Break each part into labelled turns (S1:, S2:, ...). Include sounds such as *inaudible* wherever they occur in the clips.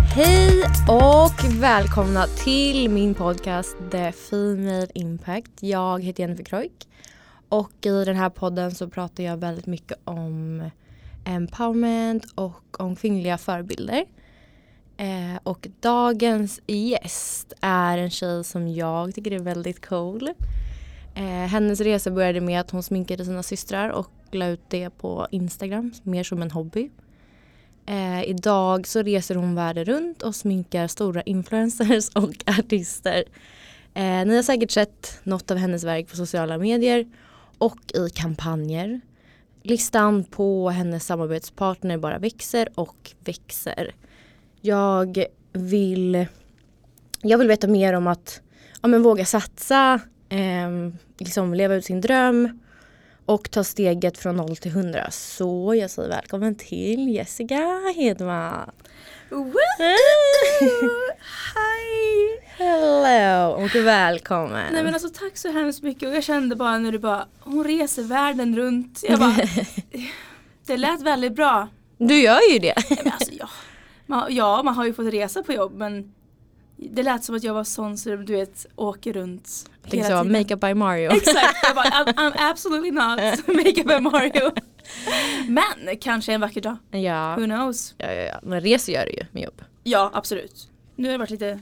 S1: Hej och välkomna till min podcast The Female Impact. Jag heter Jennifer Kroik och i den här podden så pratar jag väldigt mycket om empowerment och om kvinnliga förebilder. Eh, och dagens gäst är en tjej som jag tycker är väldigt cool. Eh, hennes resa började med att hon sminkade sina systrar och la ut det på Instagram, mer som en hobby. Eh, idag så reser hon världen runt och sminkar stora influencers *laughs* och artister. Eh, ni har säkert sett något av hennes verk på sociala medier och i kampanjer. Listan på hennes samarbetspartner bara växer och växer. Jag vill, jag vill veta mer om att ja, men våga satsa, eh, liksom leva ut sin dröm och ta steget från 0 till 100. Så jag säger välkommen till Jessica
S2: *laughs*
S1: Hedman.
S2: Hej!
S1: Hello och välkommen.
S2: Nej men alltså tack så hemskt mycket och jag kände bara när du bara hon reser världen runt.
S1: *laughs*
S2: Jag bara det lät väldigt bra.
S1: Du gör ju det.
S2: Nej, men alltså, ja. Man, ja man har ju fått resa på jobb men det lät som att jag var sån som du vet åker runt
S1: Tänk så, makeup by Mario.
S2: Exakt, jag bara, I'm,
S1: *laughs*
S2: I'm absolutely not *laughs* makeup and Mario. Men kanske en vacker dag,
S1: Ja.
S2: who knows.
S1: Ja, ja, ja, men resor gör du ju med jobb.
S2: Ja absolut. Nu har det varit lite,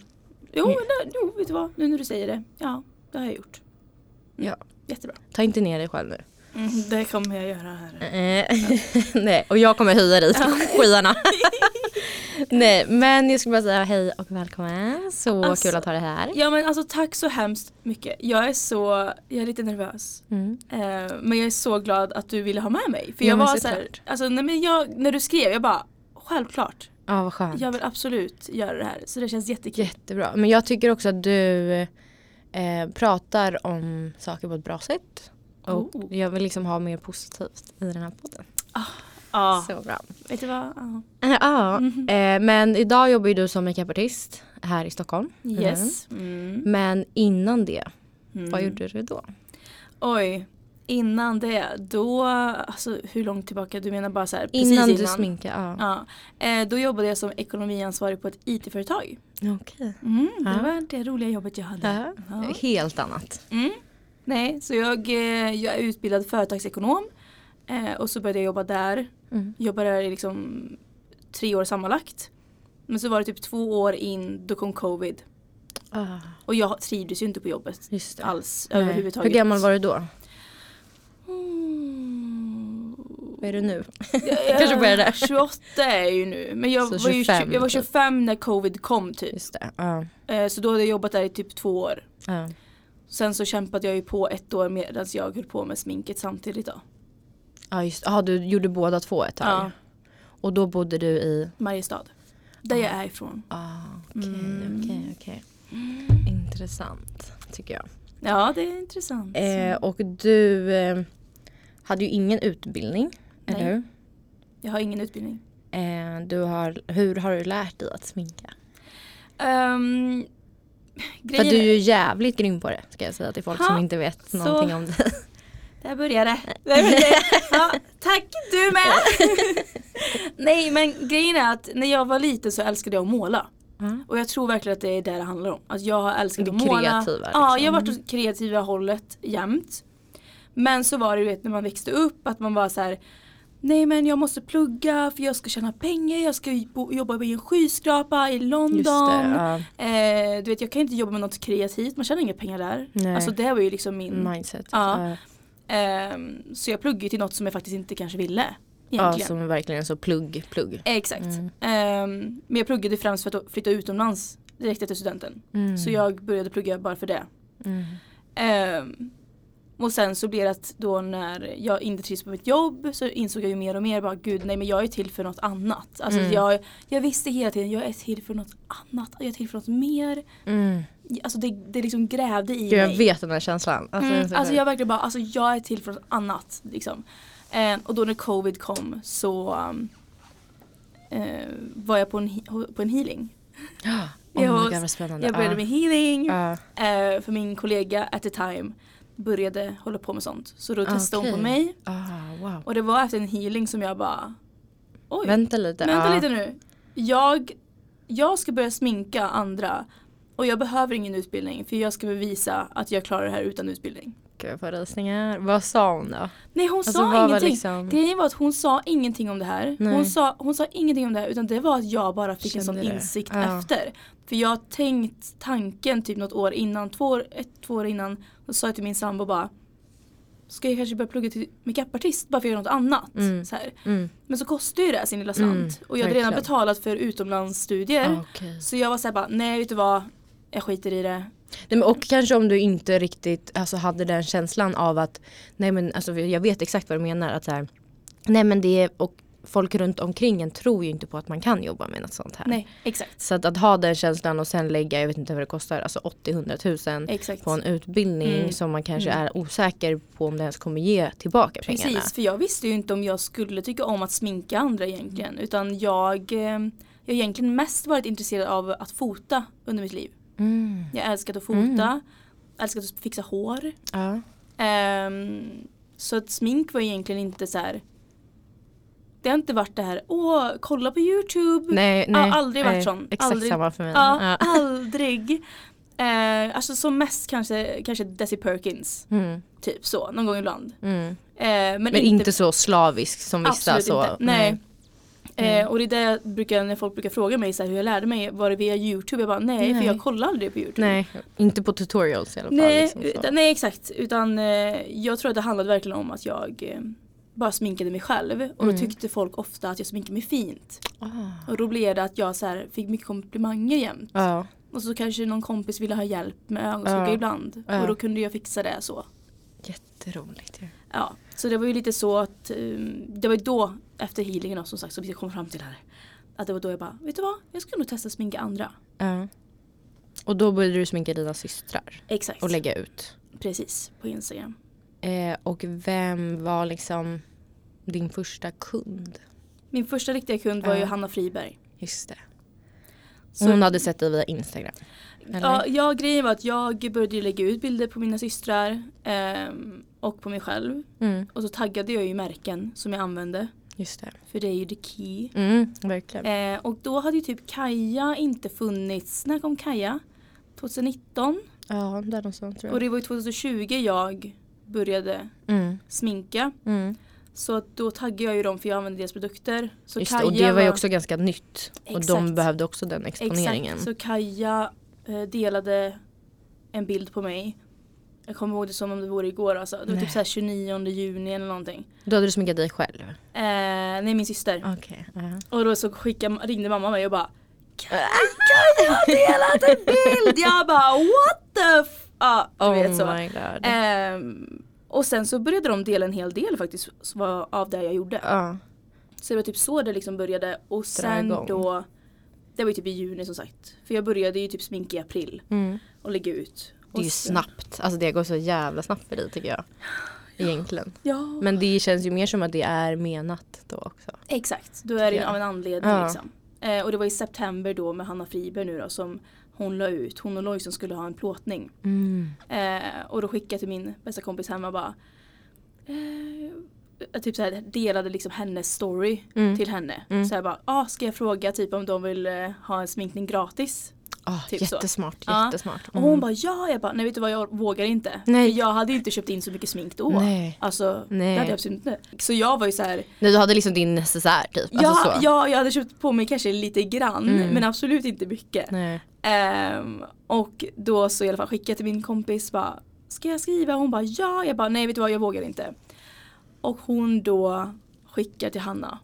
S2: jo,
S1: Mm.
S2: nej, jo vet du vad, nu när du säger det, ja det har jag gjort. Mm.
S1: Ja.
S2: Jättebra.
S1: Ta inte ner dig själv nu.
S2: Mm, det kommer jag göra här.
S1: Eh, *laughs* Nej, och jag kommer höja dig till
S2: *laughs*
S1: skyarna. Nej, men jag skulle bara säga hej och välkommen. Så
S2: Alltså,
S1: kul att ha dig här.
S2: Ja men alltså tack så hemskt mycket. Jag är så, jag är lite nervös.
S1: Mm.
S2: Eh, men jag är så glad att du ville ha med mig. För
S1: Ja,
S2: jag
S1: men
S2: var så
S1: såklart.
S2: här, alltså nej, men jag, när du skrev jag bara självklart.
S1: Ja, vad skönt.
S2: Jag vill absolut göra det här. Så det känns jättekul.
S1: Jättebra. Men jag tycker också att du eh, pratar om saker på ett bra sätt. Och
S2: Oh.
S1: jag vill liksom ha mer positivt i den här podden.
S2: Ja, Mm.
S1: Så bra. *laughs*
S2: vet du vad? Ja. Mhm.
S1: Eh, Ja, eh, men idag jobbar ju du som makeupartist här i Stockholm.
S2: Yes. Mm.
S1: Men innan det,
S2: Mm.
S1: vad gjorde du då?
S2: Oj. Innan det, då, alltså hur långt tillbaka? Du menar bara så här, precis
S1: Innan
S2: innan?
S1: du sminkade? Ja.
S2: Ja. Eh, då jobbade jag som ekonomiansvarig på ett IT-företag.
S1: Okej.
S2: Mm, det
S1: Ja.
S2: var det roliga jobbet jag hade.
S1: Ja.
S2: Ja.
S1: Helt annat.
S2: Mm. Nej, så jag, eh, jag är utbildad företagsekonom eh, och så började jag jobba där.
S1: Mm.
S2: Jobbade där i liksom tre år sammanlagt. Men så var det typ två år in, då kom covid.
S1: Ah,
S2: Och jag trivdes ju inte på jobbet
S1: just det.
S2: alls
S1: Nej.
S2: överhuvudtaget.
S1: Hur gammal var du då?
S2: Mm.
S1: Vad är du nu? *laughs*
S2: Jag
S1: Kanske börjar där.
S2: 28 är jag ju nu. Men jag,
S1: Så
S2: var, ju,
S1: 25
S2: jag var
S1: typ.
S2: 25 när covid kom typ.
S1: Just det. Ja.
S2: Eh, Så då hade jag jobbat där i typ två år.
S1: Ja.
S2: Sen så kämpade jag ju på ett år medan jag höll på med sminket samtidigt då.
S1: Ja, just ah, du gjorde båda två ett tag.
S2: Ja.
S1: Och då bodde du i?
S2: Mariestad. Där jag är ifrån.
S1: Ah, okej,
S2: Mm.
S1: okej, okej. Intressant tycker jag.
S2: Ja det är intressant.
S1: Eh, och du eh, hade ju ingen utbildning,
S2: Nej.
S1: eller hur?
S2: Jag har ingen utbildning.
S1: Eh, du har, hur har du lärt dig att sminka?
S2: Um,
S1: För att
S2: grejen
S1: du är
S2: är,
S1: ju jävligt grym på det ska jag säga till folk
S2: Ha,
S1: som inte vet
S2: så-
S1: någonting om
S2: *laughs*
S1: det.
S2: där börjar det. Där börjar det. Ja, tack du med! *laughs* Nej men grejen är att när jag var liten så älskade jag att måla.
S1: Ja.
S2: Och jag tror verkligen att det är det det handlar om. Att jag har älskat
S1: Det
S2: att måla.
S1: kreativa,
S2: Ja,
S1: liksom.
S2: jag har varit åt kreativa hållet jämt. Men så var det ju vet, när man växte upp att man var så här. Nej men jag måste plugga för jag ska tjäna pengar, jag ska ju bo- jobba i en skyskrapa i London.
S1: Just det, ja.
S2: Eh, du vet jag kan inte jobba med något kreativt, man tjänar inga pengar där.
S1: Nej.
S2: Alltså det var ju liksom min.
S1: Mindset.
S2: Ja,
S1: Ja,
S2: Ehm, så jag pluggade ju till något som jag faktiskt inte kanske ville.
S1: ja,
S2: Egentligen.
S1: som Mm. verkligen är så plugg, plugg.
S2: Eh, Exakt. Ehm, men jag pluggade främst för att flytta utomlands direkt efter studenten.
S1: Mm.
S2: Så jag började plugga bara för det.
S1: Mm.
S2: Ehm, och sen så blev det att då när jag inte trivs på mitt jobb så insåg jag ju mer och mer bara gud nej men jag är till för något annat. Alltså
S1: Mm.
S2: jag, jag visste hela tiden jag är till för något annat, jag är till för något mer.
S1: Mm.
S2: Alltså det, det liksom grävde i
S1: Gud, jag
S2: mig.
S1: vet den här känslan. Alltså, den är
S2: Mm,
S1: så
S2: alltså
S1: sjuk.
S2: jag verkligen bara, alltså jag är till för något annat. Liksom. Eh, och då när covid kom så um, eh, var jag på en, he- på en healing.
S1: Oh
S2: jag-
S1: my god vad spännande.
S2: Jag började med healing
S1: Ja.
S2: eh, för min kollega at the time började hålla på med sånt. Så då testade hon på
S1: Okej.
S2: mig
S1: Ah, wow.
S2: och det var efter en healing som jag bara Oj,
S1: Vänta lite. Ah.
S2: vänta
S1: ja.
S2: lite nu. Jag jag ska börja sminka andra och jag behöver ingen utbildning för jag ska bevisa att jag klarar det här utan utbildning.
S1: Gud jag får rysningar. Vad sa hon då?
S2: Nej hon
S1: Alltså,
S2: sa
S1: vad var
S2: ingenting.
S1: liksom-
S2: Grejen var att hon sa ingenting om det här.
S1: Nej.
S2: Hon sa, hon sa ingenting om det här utan det var att jag bara fick en
S1: Kände
S2: sån
S1: det.
S2: insikt
S1: Ja.
S2: efter. För jag har tänkt tanken typ något år innan, två år, ett, två år innan, då sa jag till min sambo bara Ska jag kanske börja plugga till makeupartist bara för att göra något annat?
S1: Mm.
S2: Så här.
S1: Mm.
S2: Men så kostar ju det här sin lilla slant.
S1: Mm,
S2: och jag hade redan
S1: verkligen.
S2: betalat för utomlandsstudier.
S1: Ah, Okej.
S2: Så jag var såhär bara, nej vet du vad, jag skiter i det.
S1: Nej, men och kanske om du inte riktigt alltså, hade den känslan av att nej men alltså, jag vet exakt vad du menar att så här, nej men det är, och folk runt omkring en tror ju inte på att man kan jobba med något sånt här.
S2: Nej, exakt.
S1: Så att, att ha den känslan och sen lägga, jag vet inte vad det kostar, alltså 80-100 000
S2: Exakt.
S1: på en utbildning
S2: Mm.
S1: som man kanske är osäker på om det ens kommer ge tillbaka pengarna.
S2: Precis, för jag visste ju inte om jag skulle tycka om att sminka andra egentligen.
S1: Mm.
S2: Utan jag, eh, jag har egentligen mest varit intresserad av att fota under mitt liv.
S1: Mm.
S2: Jag älskat att fota, älskat att fixa hår.
S1: Ja.
S2: Ehm, så att smink var egentligen inte så här. Det har inte varit det här, åh kolla på YouTube.
S1: Nej, nej.
S2: Ja, aldrig varit
S1: nej.
S2: sån.
S1: Exakt
S2: Aldrig.
S1: samma för mig.
S2: Ja,
S1: Ja. *laughs*
S2: *laughs* aldrig. Eh, alltså som mest kanske, kanske Desi Perkins.
S1: Mm.
S2: Typ så, någon gång ibland.
S1: Mm.
S2: Eh, men,
S1: Men inte så slavisk som vissa.
S2: absolut
S1: så. Mm.
S2: inte. Nej. Eh, och det är det jag brukar, när folk brukar fråga mig så här, hur jag lärde mig, var det via YouTube? Jag bara nej,
S1: Nej.
S2: för jag kollar aldrig på YouTube.
S1: Nej, inte på tutorials i alla fall.
S2: Nej,
S1: liksom så.
S2: utan, nej exakt. Utan eh, jag tror att det handlade verkligen om att jag eh, bara sminkade mig själv. Och då
S1: Mm.
S2: tyckte folk ofta att jag sminkade mig fint.
S1: Ah.
S2: Och då blev det att jag så här, fick mycket komplimanger jämt.
S1: Ja.
S2: Och så kanske någon kompis ville ha hjälp med ögonskugga
S1: Ja.
S2: ibland.
S1: Ja.
S2: Och då kunde jag fixa det så.
S1: Jätteroligt ju.
S2: Ja, så det var ju lite så att eh, det var ju då efter healingen och som sagt som vi kom fram till det här. Att det var då jag bara, vet du vad? Jag ska nog testa sminka andra.
S1: Ja. Och då började du sminka dina systrar
S2: Exakt.
S1: och lägga ut.
S2: Precis, på Instagram.
S1: Eh, och vem var liksom din första kund?
S2: Min första riktiga kund var ju
S1: Ja.
S2: Hanna Friberg.
S1: Just det.
S2: Så-
S1: Hon hade sett dig via Instagram. Eller?
S2: Mm. Ja, ja, grejen var att jag började ju lägga ut bilder på mina systrar ehm, och på mig själv.
S1: Mm,
S2: Och så taggade jag ju märken som jag använde.
S1: just det.
S2: För det är ju the key.
S1: Mm, verkligen.
S2: Eh, och då hade ju typ Kaja inte funnits. När kom Kaja? 2019.
S1: Ja, där någonstans tror
S2: Och
S1: jag.
S2: det var ju 2020 jag började
S1: Mm,
S2: sminka.
S1: mm.
S2: Så att då taggade jag ju dem för jag använde deras produkter. Så
S1: Just det. Och det var ju också ganska nytt. Och de
S2: Exakt.
S1: behövde också den exponeringen.
S2: Exakt, så Kaja eh, delade en bild på mig. Jag kommer ihåg det som om det vore igår alltså. Det var
S1: Nej.
S2: typ såhär 29 juni eller någonting.
S1: Då hade du sminkat dig själv.
S2: Eh, nej min syster.
S1: Okej. ja.
S2: Och då så skickade, ringde mamma mig och bara Kaja
S1: Ah,
S2: har delat en *laughs* bild! Jag bara what the f... Ja, du
S1: Oh
S2: vet så.
S1: my god.
S2: Ehm, och sen så började de dela en hel del faktiskt så var- av det jag gjorde.
S1: Ja.
S2: Så det var typ så det liksom började och sen
S1: igång.
S2: då Det var ju typ i juni som sagt. För jag började ju typ sminka i april
S1: Mm.
S2: och lägga ut.
S1: Det är ju
S2: Och sen-
S1: snabbt. Alltså det går så jävla snabbt för dig tycker jag. Egentligen.
S2: Ja
S1: Men det känns ju mer som att det är menat då också.
S2: exakt, då är det
S1: jag.
S2: av en anledning
S1: Ja.
S2: liksom. Eh, och det var i september då med Hanna Friberg nu då som hon la ut, hon och Lojsan skulle ha en plåtning. Eh, och då skickade jag till min bästa kompis hemma bara eh, jag typ såhär delade liksom hennes story
S1: Mm.
S2: till henne.
S1: Mm.
S2: Så jag bara, ah, ska jag fråga typ om de vill eh, ha en sminkning gratis?
S1: Ah,
S2: Typ så.
S1: jättesmart,
S2: Ja.
S1: jättesmart.
S2: Och hon bara ja, jag bara nej vet du vad jag vågar inte.
S1: Mm. Nej.
S2: För jag hade ju inte köpt in så mycket smink då.
S1: Nej.
S2: Alltså
S1: Nej.
S2: det hade jag absolut inte. Så jag var ju så här,
S1: Nej du hade liksom din necessär typ.
S2: ja,
S1: alltså så.
S2: ja jag hade köpt på mig kanske lite grann
S1: Mm.
S2: men absolut inte mycket.
S1: Nej.
S2: Ehm, och då så i alla fall skickade jag till min kompis bara ska jag skriva? Hon bara ja, jag bara nej vet du vad jag vågar inte. Och hon då skickar till Hanna.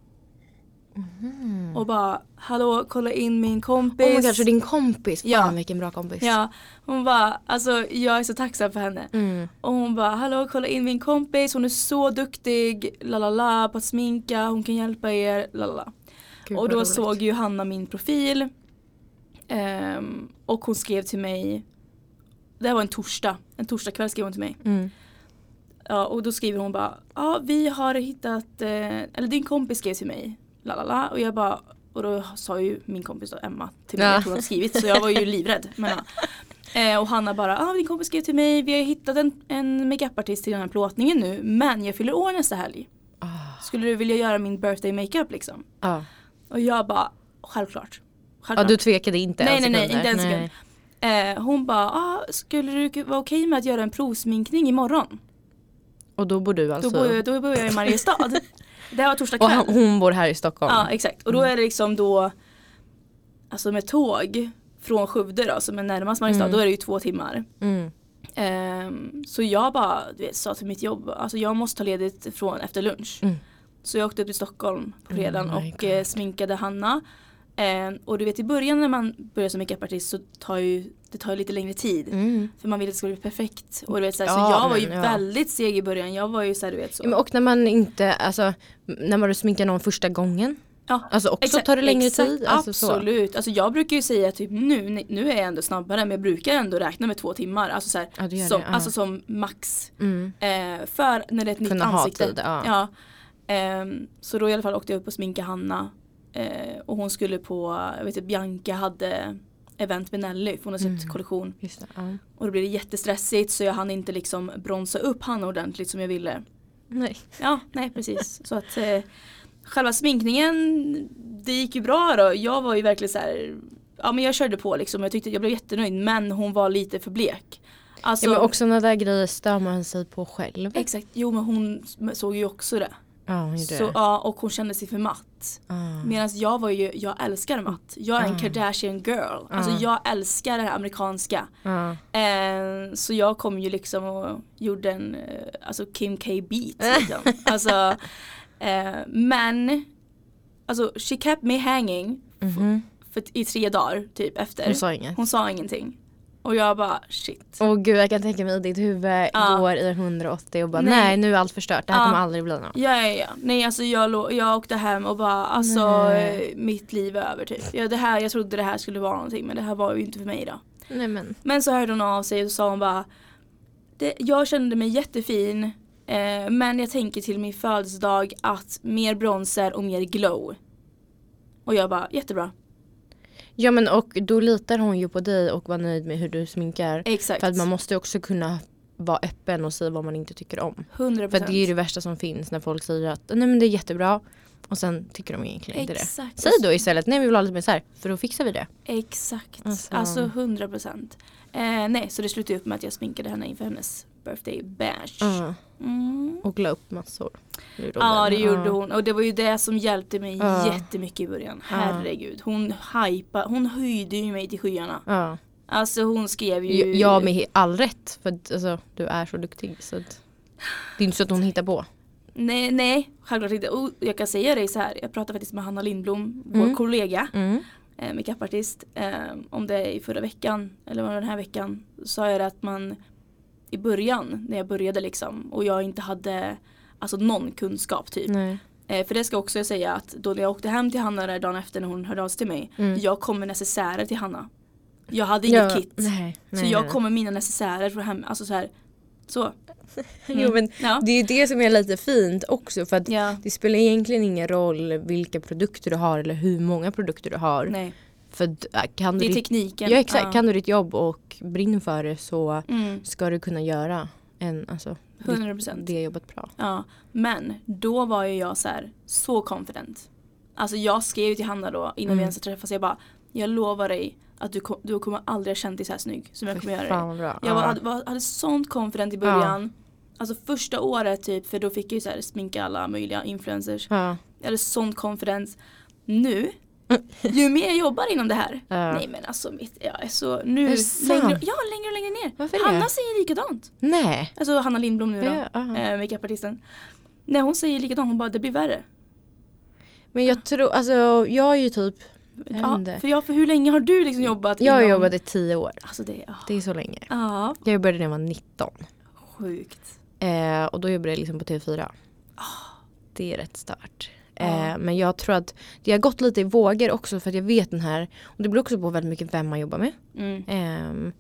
S2: Och bara hallå kolla in min kompis.
S1: Mm. Oh my god, så din kompis. Fan
S2: Ja.
S1: vilken bra kompis.
S2: Ja, hon bara alltså jag är så tacksam för henne.
S1: Mm.
S2: Och hon bara hallå kolla in min kompis, hon är så duktig, la la la på att sminka, hon kan hjälpa er, la la la.
S1: Gud,
S2: Och
S1: vad
S2: då
S1: roligt.
S2: såg ju Hanna min profil Ehm, och hon skrev till mig, det här var en torsdag, en torsdagkväll skrev hon till mig.
S1: Mm.
S2: Ja, och då skriver hon bara, ja vi har hittat, eh, eller din kompis skrev till mig, la la la. Och jag bara, och då sa ju min kompis då, Emma till mig
S1: Ja.
S2: att hon hade skrivit så jag
S1: *laughs*
S2: var ju livrädd. Men, ja. eh, och Hanna bara, ja din kompis skrev till mig, vi har hittat en, en makeupartist till den här plåtningen nu men jag fyller år nästa helg.
S1: Ah.
S2: Skulle du vilja göra min birthday makeup liksom?
S1: Ja.
S2: Och jag bara, självklart. hade
S1: Ja,
S2: någon-
S1: du tvekade inte
S2: Nej,
S1: en
S2: nej, nej,
S1: sekund där.
S2: inte en sekund. eh, hon bara, ah, skulle du vara okej med att göra en provsminkning imorgon?
S1: Och då bor du alltså...
S2: Då, bor jag, då bor jag
S1: *laughs*
S2: i Mariestad. det här var torsdag
S1: och
S2: kväll.
S1: han, hon bor här i Stockholm.
S2: Ja exakt och då
S1: Mm.
S2: är det liksom då Alltså med tåg från Skövde då som är närmast Mariestad
S1: Mm.
S2: då är det ju två timmar.
S1: Mm.
S2: Ehm, så jag bara du vet, sa till mitt jobb, alltså jag måste ta ledigt från efter lunch.
S1: Mm.
S2: Så jag åkte upp till Stockholm på
S1: Oh
S2: fredagen
S1: my
S2: och eh,
S1: God.
S2: sminkade Hanna. Ehm, och du vet i början när man börjar som makeupartist så tar ju det tar ju lite längre tid.
S1: Mm.
S2: För man vill att det ska bli perfekt. Och du vet, så, här,
S1: Ja,
S2: så jag var ju
S1: men, ja.
S2: väldigt seg i början. Jag var ju så här, du vet så.
S1: Ja, men Och när man inte, alltså när man sminkar någon första gången.
S2: Ja,
S1: Alltså också
S2: Exakt,
S1: tar det längre
S2: exakt,
S1: tid. Alltså, så.
S2: absolut. Alltså jag brukar ju säga typ nu, ni- nu är jag ändå snabbare men jag brukar ändå räkna med två timmar. Alltså, så här,
S1: Ja, du gör
S2: som,
S1: det, ja.
S2: alltså som max.
S1: Mm.
S2: Eh, för när det är ett nytt
S1: Kunna ha
S2: ansikte.
S1: tid, ja.
S2: Ehm, så då i alla fall åkte jag upp och sminkade Hanna. Eh, och hon skulle på, jag vet inte, Bianca hade event med Nelly för hon har sett
S1: Mm.
S2: kollektion.
S1: Just det, ja.
S2: Och då blev det jättestressigt så jag hann inte liksom bronsa upp Hanna ordentligt som jag ville.
S1: Nej.
S2: Ja, nej precis. Så att eh, själva sminkningen, det gick ju bra då. Jag var ju verkligen så här, ja men jag körde på liksom. Jag tyckte jag blev jättenöjd men hon var lite för blek. Alltså,
S1: Ja, men också sådana där grejer stör man sig på själv.
S2: exakt, jo men hon såg ju också det.
S1: Ja, hon gjorde
S2: Så,
S1: det. Mm.
S2: ja, och hon kände sig för matt.
S1: Ja.
S2: Medan jag var ju, jag älskar matt. Jag är en Kardashian girl. Alltså
S1: Mm.
S2: jag älskar det här amerikanska.
S1: Ja.
S2: Eh, så jag kom ju liksom och gjorde en eh, alltså Kim K beat
S1: *laughs*
S2: liksom. alltså, eh, men alltså she kept me hanging
S1: Mhm.
S2: för, i tre dagar typ efter.
S1: Hon sa inget.
S2: Hon sa ingenting. Och jag bara shit.
S1: Åh gud jag kan tänka mig i ditt huvud
S2: Ja.
S1: går i 180 och bara
S2: Nej.
S1: nej, nu är allt förstört, det här
S2: Ja.
S1: kommer aldrig bli något.
S2: Ja, ja, ja. Nej alltså jag, lå- jag åkte hem och bara alltså
S1: Nej.
S2: eh, mitt liv är över typ. Ja, det här, jag trodde det här skulle vara någonting men det här var ju inte för mig då.
S1: Nej men.
S2: Men så hörde hon av sig och sa hon bara det, Jag kände mig jättefin eh, men jag tänker till min födelsedag att mer bronzer och mer glow. Och jag bara jättebra.
S1: Ja men och då litar hon ju på dig och var nöjd med hur du sminkar.
S2: Exakt.
S1: För att man måste ju också kunna vara öppen och säga vad man inte tycker om.
S2: 100%.
S1: För att det är ju det värsta som finns när folk säger att nej men det är jättebra och sen tycker de egentligen inte det.
S2: Exakt.
S1: Säg då istället nej vi vill ha lite mer så här för då fixar vi det.
S2: Exakt.
S1: Alltså-
S2: Alltså 100%. Eh, nej så det slutade upp med att jag sminkade henne inför hennes birthday bash.
S1: Ja.
S2: Mm.
S1: Och la upp massor. Det gjorde hon
S2: Ja
S1: väl?
S2: det gjorde hon och det var ju det som hjälpte mig
S1: Ja.
S2: jättemycket i början. Herregud. Hon hypa, hon höjde ju mig till skyarna.
S1: Ja.
S2: Alltså hon skrev ju
S1: Ja med he- all rätt för att, alltså, du är så duktig. Så att, det är inte så att hon hittar på.
S2: Nej, nej, självklart inte. Och jag kan säga dig så här, jag pratade faktiskt med Hanna Lindblom, vår
S1: Mm.
S2: kollega,
S1: Mm.
S2: eh, makeupartist, eh, om det i förra veckan, eller var det den här veckan, så sa jag det att man i början, när jag började liksom, och jag inte hade alltså någon kunskap typ.
S1: Nej.
S2: Eh, för det ska också jag säga att då när jag åkte hem till Hanna där dagen efter när hon hörde av sig till mig,
S1: Mm.
S2: jag kom med necessärer till Hanna. Jag hade inget kit.
S1: Nej,
S2: så jag kom med mina necessärer från hem, alltså så här, så.
S1: Jo, men
S2: Ja.
S1: det är ju det som är lite fint också för att
S2: Ja.
S1: det spelar egentligen ingen roll vilka produkter du har eller hur många produkter du har.
S2: Nej,
S1: För att, äh, kan
S2: det
S1: du
S2: är
S1: ditt,
S2: tekniken.
S1: ja, exakt,
S2: Ja.
S1: kan du ditt jobb och brinner för det så
S2: Mm.
S1: ska du kunna göra en, alltså, ditt-
S2: 100%.
S1: det jobbet bra.
S2: Ja, men då var ju jag så här så confident. Alltså jag skrev ju till Hanna då innan
S1: Mm.
S2: vi ens hade träffats. Jag bara, jag lovar dig att du, kom, du kommer aldrig ha känt dig så här snygg som jag kommer göra
S1: Fan
S2: dig.
S1: vad bra.
S2: Jag var, hade, var, hade sånt confident i början. Alltså första året typ, för då fick jag ju så här sminka alla möjliga influencers.
S1: ja.
S2: Jag hade sånt confidence. Nu, ju mer jag jobbar inom det här.
S1: Ja.
S2: Nej men alltså mitt, jag är så, nu,
S1: Är det sant?
S2: längre, ja längre och längre ner.
S1: Varför det?
S2: Hanna säger likadant.
S1: Nej.
S2: Alltså Hanna Lindblom nu då
S1: Ja, ja.
S2: eh, makeupartisten. Nej hon säger likadant, hon bara det blir värre.
S1: Men jag tror, alltså jag är ju typ, jag vet
S2: Ja,
S1: inte.
S2: för, jag, för hur länge har du liksom jobbat?
S1: jag har
S2: inom-
S1: jobbat i tio år.
S2: Alltså det är, ah,
S1: Det är så länge.
S2: ja,
S1: Jag började när jag var 19.
S2: sjukt.
S1: Eh, och då jobbade jag liksom på TV4. Det är rätt stört.
S2: Ja.
S1: Eh, men jag tror att det har gått lite i vågor också för att jag vet den här. Och det beror också på väldigt mycket vem man jobbar med.
S2: Mm.
S1: Ehm,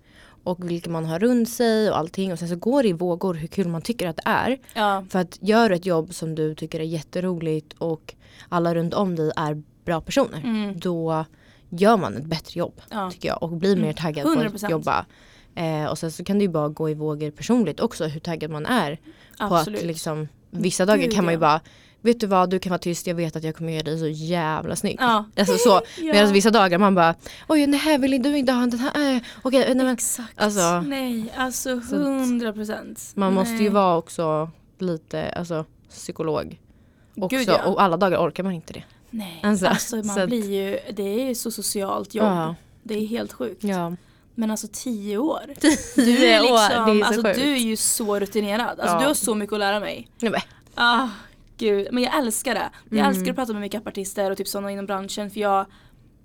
S1: och vilka man har runt sig och allting. Och sen så går det i vågor hur kul man tycker att det är.
S2: Ja,
S1: För att gör du ett jobb som du tycker är jätteroligt och alla runt om dig är bra personer.
S2: Mm.
S1: Då gör man ett bättre jobb
S2: ja, Mm.
S1: tycker jag och blir mer taggad på
S2: 100%.
S1: att jobba. Eh, och sen så kan det ju bara gå i vågor personligt också hur taggad man är. På att
S2: absolut.
S1: liksom, vissa dagar
S2: Gud,
S1: kan man ju
S2: ja.
S1: bara vet du vad du kan vara tyst jag vet att jag kommer göra dig så jävla snygg.
S2: Ja.
S1: Alltså så.
S2: *laughs* Ja.
S1: Medan vissa dagar man bara oj nej här vill du inte ha den här. eh, Okej nej men.
S2: Exakt.
S1: Alltså.
S2: Nej, alltså 100 procent.
S1: Man måste ju vara också lite alltså, psykolog. Också,
S2: Gud, ja.
S1: Och alla dagar orkar man inte det.
S2: Nej,
S1: Alltså,
S2: alltså, man
S1: så att-
S2: blir ju, det är ju så socialt jobb.
S1: Ja.
S2: Det är helt sjukt.
S1: Ja.
S2: Men alltså tio år.
S1: Du
S2: är liksom,
S1: det är så
S2: alltså,
S1: sjukt.
S2: du är ju så rutinerad. Alltså,
S1: Ja.
S2: Du har så mycket att lära mig.
S1: Nej, men,
S2: Ah, gud. Men jag älskar det. Jag
S1: Mm.
S2: älskar att prata med makeupartister och typ sådana inom branschen för jag,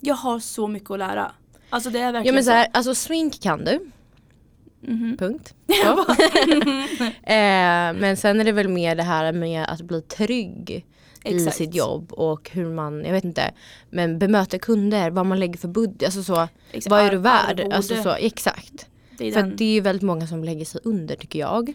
S2: jag har så mycket att lära. Alltså det är verkligen
S1: Ja men så här, alltså swink kan du, *laughs*
S2: Mhm.
S1: punkt.
S2: *laughs*
S1: Så. *laughs* eh, men sen är det väl mer det här med att bli trygg i
S2: Exakt.
S1: sitt jobb och hur man, jag vet inte, men bemöter kunder, vad man lägger för budget, alltså så,
S2: Exakt.
S1: vad är du
S2: Ar-
S1: värd?
S2: arvode.
S1: Alltså så, exakt.
S2: Det är
S1: För
S2: den.
S1: att det är ju väldigt många som lägger sig under tycker
S2: *laughs*
S1: jag.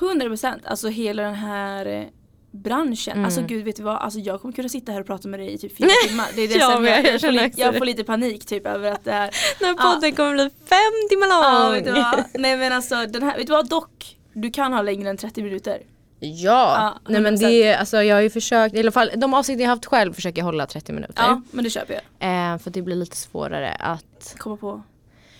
S2: 100 procent, alltså hela den här eh, branschen.
S1: Mm.
S2: Alltså gud vet du vad, alltså, jag kommer kunna sitta här och prata med dig i typ
S1: *laughs*
S2: fyra timmar. Det är det
S1: Ja,
S2: som
S1: men jag
S2: jag, jag, får
S1: känner
S2: li-
S1: också
S2: jag
S1: det.
S2: får lite panik typ över att det
S1: *laughs*
S2: är
S1: Den
S2: Ja.
S1: podden kommer bli fem timmar
S2: Ja,
S1: lång!
S2: vet du vad? Nej men alltså den här, vet du vad dock? Du kan ha längre än 30 minuter.
S1: Ja,
S2: Ja,
S1: nej men
S2: 100%.
S1: det är, alltså jag har ju försökt, i alla fall de avsikter jag haft själv försöker jag hålla 30 minuter.
S2: Ja, men det köper jag.
S1: Eh, för det blir lite svårare att,
S2: Komma på.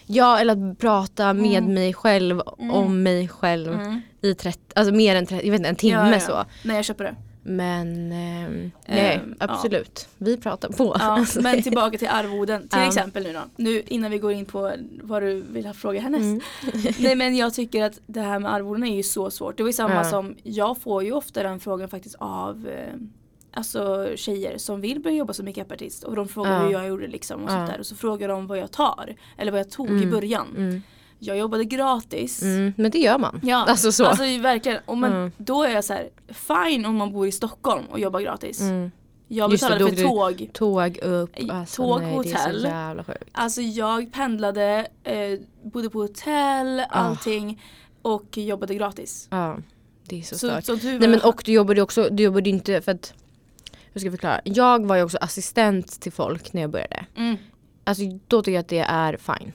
S1: ja eller att prata
S2: Mm.
S1: med mig själv, om mig själv i 30, alltså mer än 30, jag vet inte, en timme
S2: Ja, ja.
S1: så.
S2: Nej jag köper det.
S1: Men ehm, nej
S2: ja.
S1: absolut, vi pratar på.
S2: Ja,
S1: *laughs* Alltså,
S2: men tillbaka till arvoden. Till
S1: Ja.
S2: exempel nu då. Nu innan vi går in på vad du vill ha fråga härnäst.
S1: Mm.
S2: *laughs* Nej men jag tycker att det här med arvoden är ju så svårt. Det var ju samma
S1: Ja.
S2: som, jag får ju ofta den frågan faktiskt av eh, Alltså tjejer som vill börja jobba som makeupartist och de frågar
S1: Ja.
S2: hur jag gjorde liksom och
S1: Ja.
S2: sånt där och så frågar de vad jag tar eller vad jag tog i början.
S1: mm.
S2: Jag jobbade gratis.
S1: Mm, men det gör man.
S2: Ja,
S1: Alltså så.
S2: alltså verkligen. Och men,
S1: Mm.
S2: Då är jag så här, fine om man bor i Stockholm och jobbar gratis.
S1: mm.
S2: Jag
S1: Just det,
S2: betalade för
S1: då
S2: tåg.
S1: Tåg upp, alltså,
S2: Tåg,
S1: nej, Det är
S2: hotell.
S1: så jävla sjukt.
S2: Alltså jag pendlade, eh, bodde på hotell,
S1: Ah.
S2: allting och jobbade gratis.
S1: Ja, det är så,
S2: Så,
S1: stört.
S2: så, du
S1: Nej men och du jobbade ju också, du jobbade ju inte för att hur ska jag förklara? Jag var ju också assistent till folk när jag började.
S2: Mm,
S1: Alltså då tycker jag att det är fine.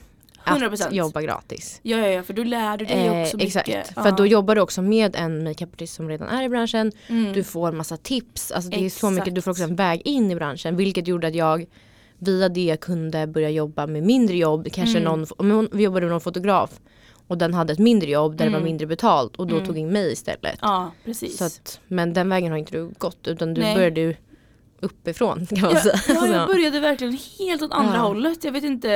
S2: 100%.
S1: Att jobba gratis.
S2: ja, ja, ja, för då lär du dig
S1: Eh,
S2: också mycket.
S1: exakt. För att då jobbar du också med en makeupartist som redan är i branschen.
S2: Mm.
S1: Du får en massa tips. Alltså det är så
S2: Exakt.
S1: mycket, du får också en väg in i branschen. Vilket gjorde att jag via det kunde börja jobba med mindre jobb. Kanske
S2: Mm.
S1: någon, om hon- vi jobbade med någon fotograf och den hade ett mindre jobb där det var mindre betalt och då tog in mig istället.
S2: Mm. Ja, precis.
S1: Så att, men den vägen har inte du gått utan du
S2: Nej.
S1: började ju uppifrån kan man
S2: jag,
S1: säga.
S2: ja, jag
S1: *laughs* Så.
S2: började verkligen helt åt andra
S1: Ja.
S2: hållet. Jag vet inte.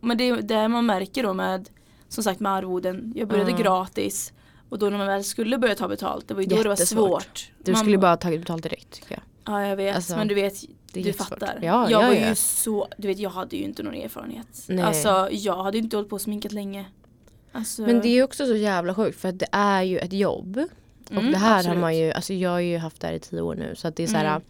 S2: Men det är där man märker då med, som sagt med arvoden. Jag började
S1: Mm.
S2: gratis. Och då när man väl skulle börja ta betalt, det var ju då det var
S1: Jättesvårt.
S2: svårt.
S1: Du
S2: man,
S1: skulle ju bara ha tagit betalt direkt tycker jag.
S2: Ja jag vet
S1: Alltså,
S2: men du vet
S1: det är
S2: du
S1: jättesvårt.
S2: fattar.
S1: Ja,
S2: jag
S1: ja,
S2: var
S1: ja.
S2: ju så, du vet jag hade ju inte någon erfarenhet.
S1: Nej.
S2: Alltså jag hade ju inte hållit på och sminkat länge. Alltså,
S1: Men det är ju också så jävla sjukt för att det är ju ett jobb. och
S2: Mm,
S1: det här
S2: absolut.
S1: har man ju, alltså jag har ju haft det här i tio år nu så att det är så här
S2: Mm.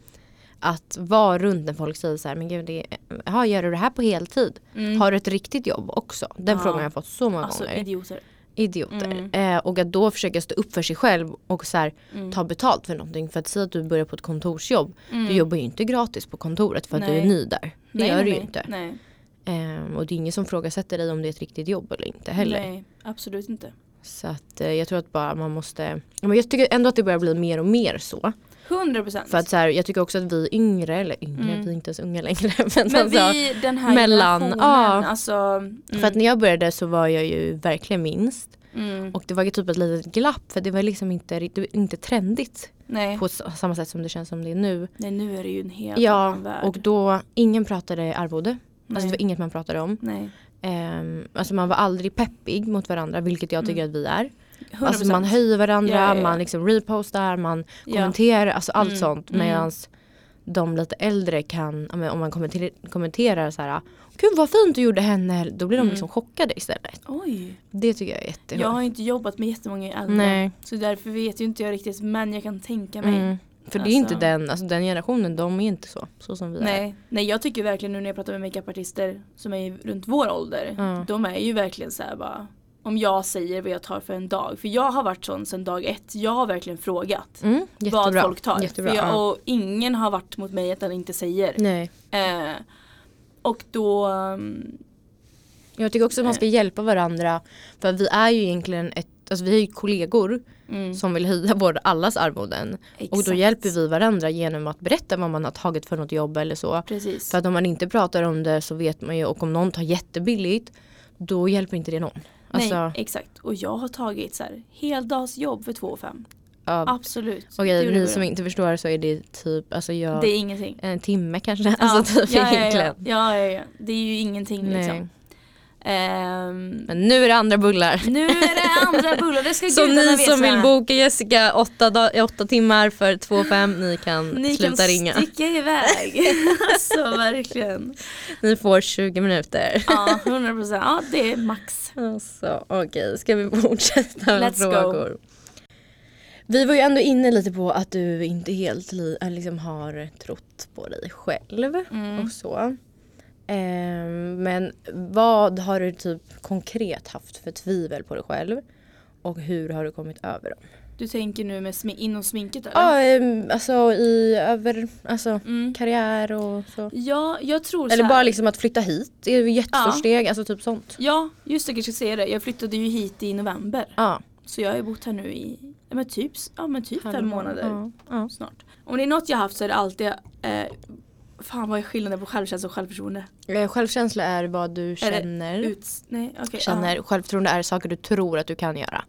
S1: att vara runt när folk säger så här, men gud, det är, aha, gör du det här på heltid?
S2: Mm.
S1: Har du ett riktigt jobb också? Den
S2: Ja.
S1: frågan har jag fått så många
S2: alltså
S1: gånger.
S2: idioter.
S1: Idioter.
S2: Mm.
S1: Eh, och att då försöka stå upp för sig själv och så här,
S2: Mm.
S1: ta betalt för någonting. För att säga att du börjar på ett kontorsjobb, du
S2: Mm.
S1: jobbar ju inte gratis på kontoret för att du
S2: Nej.
S1: är ny där. Det
S2: Nej,
S1: gör
S2: nej,
S1: du ju
S2: nej.
S1: inte.
S2: Nej.
S1: Ehm, och det är ingen som frågasätter dig om det är ett riktigt jobb eller inte heller.
S2: nej absolut inte.
S1: Så att eh, jag tror att bara man måste, Ja, men jag tycker ändå att det börjar bli mer och mer så.
S2: 100 procent.
S1: För att så här, jag tycker också att vi yngre, eller yngre, vi är inte ens unga längre. *laughs* Men,
S2: Mm. men
S1: alltså,
S2: vi den här
S1: mellan-
S2: generationen
S1: ja.
S2: alltså. Mm,
S1: För att när jag började så var jag ju verkligen minst.
S2: mm,
S1: Och det var ju typ ett litet glapp för det var liksom inte, rikt- inte trendigt
S2: nej.
S1: på s- samma sätt som det känns som det är nu.
S2: nej nu är det ju en helt
S1: Ja,
S2: annan värld.
S1: och då, ingen pratade arvode. Alltså
S2: Nej.
S1: det var inget man pratade om.
S2: nej.
S1: Ehm, alltså man var aldrig peppig mot varandra, vilket jag tycker att vi är.
S2: Mm. 100%.
S1: Alltså man höjer varandra,
S2: Ja, ja, ja.
S1: man liksom repostar, man
S2: Ja.
S1: kommenterar, alltså allt
S2: Mm,
S1: sånt.
S2: mm.
S1: Medans de lite äldre kan, ja, men om man kommenter- kommenterar så här, "Ah, gud vad fint du gjorde henne, då
S2: Mm.
S1: blir de liksom chockade istället.
S2: Oj.
S1: Det tycker jag är jättehårt.
S2: Jag har inte jobbat med jättemånga äldre.
S1: Nej.
S2: Så därför vet ju inte jag riktigt men jag kan tänka mig.
S1: Mm. För det är
S2: Alltså.
S1: inte den, alltså den generationen, de är inte så, så som vi är.
S2: Nej, nej jag tycker verkligen nu när jag pratar med makeupartister som är runt vår ålder.
S1: Ja.
S2: De är ju verkligen så här bara om jag säger vad jag tar för en dag. För jag har varit sån sedan dag ett. Jag har verkligen frågat
S1: Mm, jättebra.
S2: vad folk tar.
S1: Jättebra,
S2: för jag,
S1: ja.
S2: Och ingen har varit mot mig att den inte säger.
S1: Nej. Mm.
S2: Eh, och då mm,
S1: Jag tycker också att man ska hjälpa varandra för vi är ju egentligen ett alltså vi är ju kollegor
S2: Mm.
S1: som vill höja vår, allas arvoden. Och då
S2: Exakt.
S1: hjälper vi varandra genom att berätta vad man har tagit för något jobb eller så.
S2: Precis.
S1: För att om man inte pratar om det så vet man ju och om någon tar jättebilligt då hjälper inte det någon. Alltså,
S2: Nej, exakt. Och jag har tagit så här heldagsjobb för 2 5.
S1: ja.
S2: Absolut. Det
S1: Okej,
S2: gjorde
S1: ni
S2: jag.
S1: som inte förstår så är det typ, alltså jag,
S2: Det är ingenting.
S1: en timme kanske. Alltså typ
S2: ja, ja, ja,
S1: egentligen.
S2: ja, ja, ja. Det är ju ingenting liksom.
S1: Nej.
S2: Ehm,
S1: Men nu är det andra bullar.
S2: nu är det andra bullar, det ska
S1: Så
S2: gudarna
S1: ni
S2: veta.
S1: som vill boka Jessica åtta, dag- åtta timmar för 2,5 ni kan
S2: Ni
S1: sluta
S2: kan
S1: ringa.
S2: sticka iväg.
S1: *laughs*
S2: alltså verkligen.
S1: Ni får 20 minuter.
S2: Ja, 100 procent. Ja, det är max.
S1: Alltså, Okej, ska vi *laughs* fortsätta med
S2: Let's go.
S1: frågor? Vi var ju ändå inne lite på att du inte helt li- äh, liksom har trott på dig själv
S2: Mm.
S1: och så. Ehm, men vad har du typ konkret haft för tvivel på dig själv? Och hur har du kommit över dem?
S2: Du tänker nu med smi- inom sminket eller?
S1: Ja, ehm, alltså i över, alltså
S2: Mm.
S1: karriär och så.
S2: Ja, jag tror så
S1: Eller
S2: här.
S1: bara liksom att flytta hit, det är ju ett jättestort
S2: Ja.
S1: steg, alltså typ sånt.
S2: Ja, just det, jag kanske ska säga det. Jag flyttade ju hit i november.
S1: Ja.
S2: Så jag har ju bott här nu i ja, men typ, ja, men typ fem
S1: Halva-
S2: månader
S1: Ja. Ja.
S2: snart. Om det är något jag har haft så är det alltid eh, Fan vad är skillnaden på självkänsla och självförtroende?
S1: Eh, Självkänsla är vad du känner.
S2: Ut, nej, okej.
S1: Mm. känner. Självförtroende är saker du tror att du kan göra.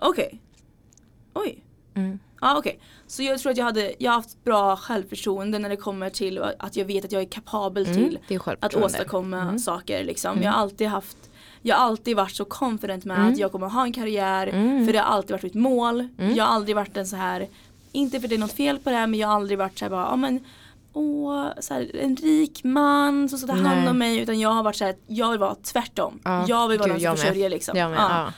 S2: ja. Okej. Oj. Ja okej. Så jag tror att jag hade, jag har haft bra självförtroende när det kommer till att jag vet att jag är kapabel
S1: Mm,
S2: till
S1: det är
S2: att
S1: självförtroende.
S2: åstadkomma saker liksom. Jag har alltid haft jag har alltid varit så confident med att jag kommer ha en karriär
S1: Mm.
S2: för det har alltid varit mitt mål. Jag har aldrig varit en så här, inte för det är något fel på det här men jag har aldrig varit så här bara, ja men åh, så här, en rik man som ska ta hand
S1: Nej.
S2: om mig utan jag har varit så här, jag vill vara tvärtom.
S1: Ja,
S2: Jag vill vara
S1: gud,
S2: den som
S1: jag med.
S2: försörjer liksom.
S1: Jag med.
S2: Ja.
S1: Ja.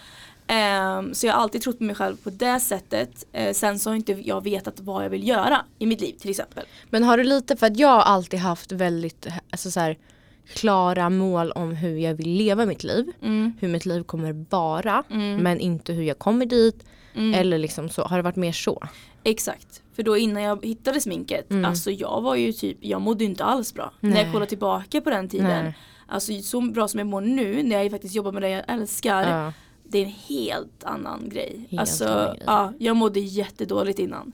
S2: Ehm, så jag har alltid trott på mig själv på det sättet. Eh, sen så har inte jag vetat vad jag vill göra i mitt liv till exempel.
S1: Men har du lite, för att jag har alltid haft väldigt alltså så här, klara mål om hur jag vill leva mitt liv.
S2: Mm.
S1: Hur mitt liv kommer vara men inte hur jag kommer dit.
S2: Mm.
S1: Eller liksom så, har det varit mer så?
S2: Exakt. För då innan jag hittade sminket,
S1: Mm.
S2: alltså jag var ju typ, jag mådde ju inte alls bra. När jag kollar tillbaka på den tiden.
S1: Nej.
S2: Alltså så bra som jag mår nu när jag faktiskt jobbar med det jag älskar.
S1: Ja.
S2: Det är en helt annan grej.
S1: Helt
S2: alltså,
S1: annan grej.
S2: Ja, jag mådde jättedåligt innan.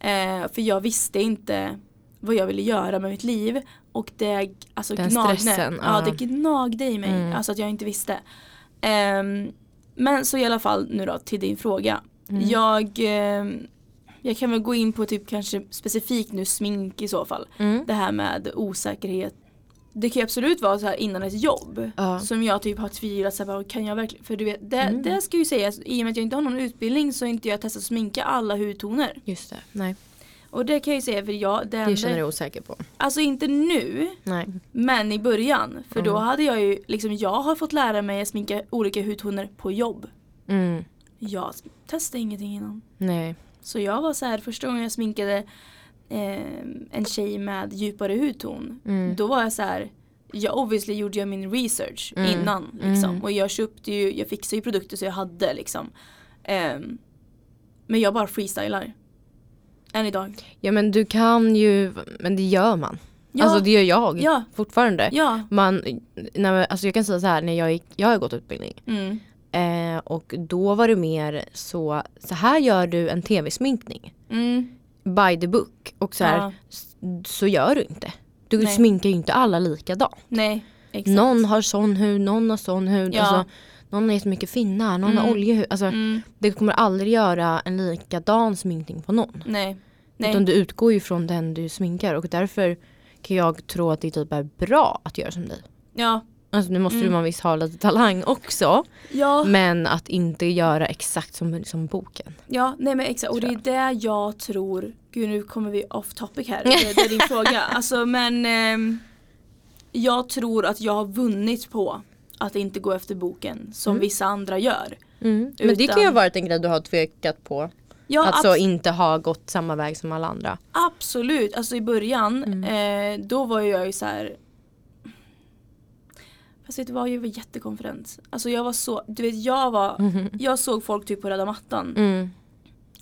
S2: Eh, för jag visste inte vad jag ville göra med mitt liv. Och det alltså,
S1: Den
S2: gnagde.
S1: stressen,
S2: ja.
S1: ja. Mm.
S2: det gnagde i mig. Alltså att jag inte visste. Ehm, men så i alla fall nu då till din fråga.
S1: Mm.
S2: Jag, ehm, jag kan väl gå in på typ kanske specifikt nu smink i så fall.
S1: Mm.
S2: Det här med osäkerhet. Det kan ju absolut vara så här innan ett jobb
S1: Ja. Mm.
S2: som jag typ har tvivlat så här, bara, kan jag verkligen, för du vet det, det ska ju sägas i och med att jag inte har någon utbildning så har inte jag testat att sminka alla hudtoner.
S1: Just det, nej.
S2: Och det kan jag ju säga för jag, det
S1: Det känner
S2: enda,
S1: du osäker på.
S2: alltså inte nu
S1: Nej.
S2: men i början för då hade jag ju liksom jag har fått lära mig att sminka olika hudtoner på jobb.
S1: Mm.
S2: Jag testade ingenting innan.
S1: Nej.
S2: Så jag var så här första gången jag sminkade eh, en tjej med djupare hudton.
S1: Mm.
S2: Då var jag så här, jag obviously gjorde jag min research
S1: Mm.
S2: innan liksom.
S1: Mm.
S2: Och jag köpte ju, jag fixade ju produkter så jag hade liksom. Ehm, men jag bara freestylar. Än idag.
S1: Ja men du kan ju, men det gör man.
S2: Ja,
S1: Alltså det gör jag
S2: Ja.
S1: fortfarande.
S2: ja.
S1: Man, när, man- alltså jag kan säga så här, när jag, gick, jag har gått utbildning
S2: Mm.
S1: eh, och då var det mer så, så här gör du en tv-sminkning
S2: Mm.
S1: by the book och så här,
S2: Ja.
S1: s- så gör du inte. Du
S2: Nej.
S1: sminkar ju inte alla likadant.
S2: Nej, exakt.
S1: Någon har sån hud, någon har sån hud,
S2: Ja.
S1: alltså, någon har jättemycket finnar, någon har oljehud. Alltså,
S2: Mm.
S1: Det kommer aldrig göra en likadan sminkning på någon.
S2: Nej. Nej.
S1: Utan du utgår ju från den du sminkar och därför kan jag tro att det typ är bra att göra som dig.
S2: Ja.
S1: Alltså nu måste
S2: Mm.
S1: ju man visst ha lite talang också.
S2: Ja.
S1: Men att inte göra exakt som, som boken.
S2: Ja, nej men exakt. Och det är det jag tror, gud nu kommer vi off topic här, det det är din fråga. Alltså men ehm, jag tror att jag har vunnit på att inte gå efter boken som vissa andra gör.
S1: Men det kan ju
S2: Mm. Utan-
S1: ha varit en grej du har tvekat på.
S2: Ja,
S1: alltså
S2: abs-
S1: inte ha gått samma väg som alla andra.
S2: absolut, alltså i början eh, då var jag ju så här. Fast vet du vad, jag var jättekonfident. Alltså jag var så, du vet jag var,
S1: Mm.
S2: jag såg folk typ på röda mattan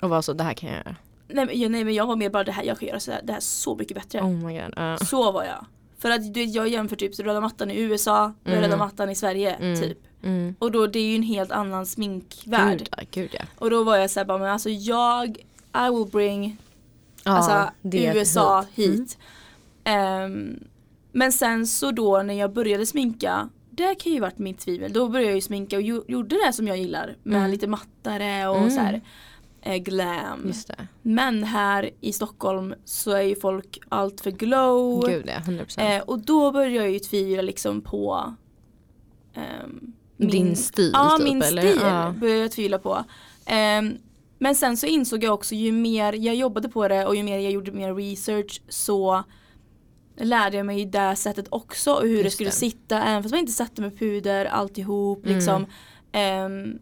S1: Och var så, det här kan jag göra.
S2: nej, men- ja, nej men jag var mer bara det här, jag kan göra sådär, det här är så mycket bättre.
S1: Oh my god. ja.
S2: Så var jag. För att du, vet, jag jämför typ röda mattan i USA med röda mattan i Sverige typ.
S1: Mm.
S2: Och då det är ju en helt annan sminkvärld.
S1: Gud, ja, gud ja.
S2: Och då var jag såhär bara men alltså jag, I will bring
S1: ja
S2: alltså,
S1: det Mm.
S2: USA
S1: hit.
S2: hit. Ehm, men sen så då när jag började sminka, det kan ju varit mitt tvivel, då började jag ju sminka och ju, gjorde det som jag gillar med
S1: Mm.
S2: lite mattare och
S1: Mm.
S2: så här eh, glam.
S1: Just det.
S2: Men här i Stockholm så är ju folk allt för glow.
S1: Gud ja, 100 procent.
S2: Eh, och då började jag ju tvivla liksom på ehm,
S1: Din stil
S2: Ja
S1: typ,
S2: min
S1: eller?
S2: stil
S1: Ja.
S2: började jag tvivla på. Ehm, men sen så insåg jag också ju mer jag jobbade på det och ju mer jag gjorde mer research så lärde jag mig ju det sättet också och hur det
S1: Just
S2: skulle
S1: det.
S2: sitta även fast man inte satte med puder alltihop
S1: Mm.
S2: liksom. Ehm,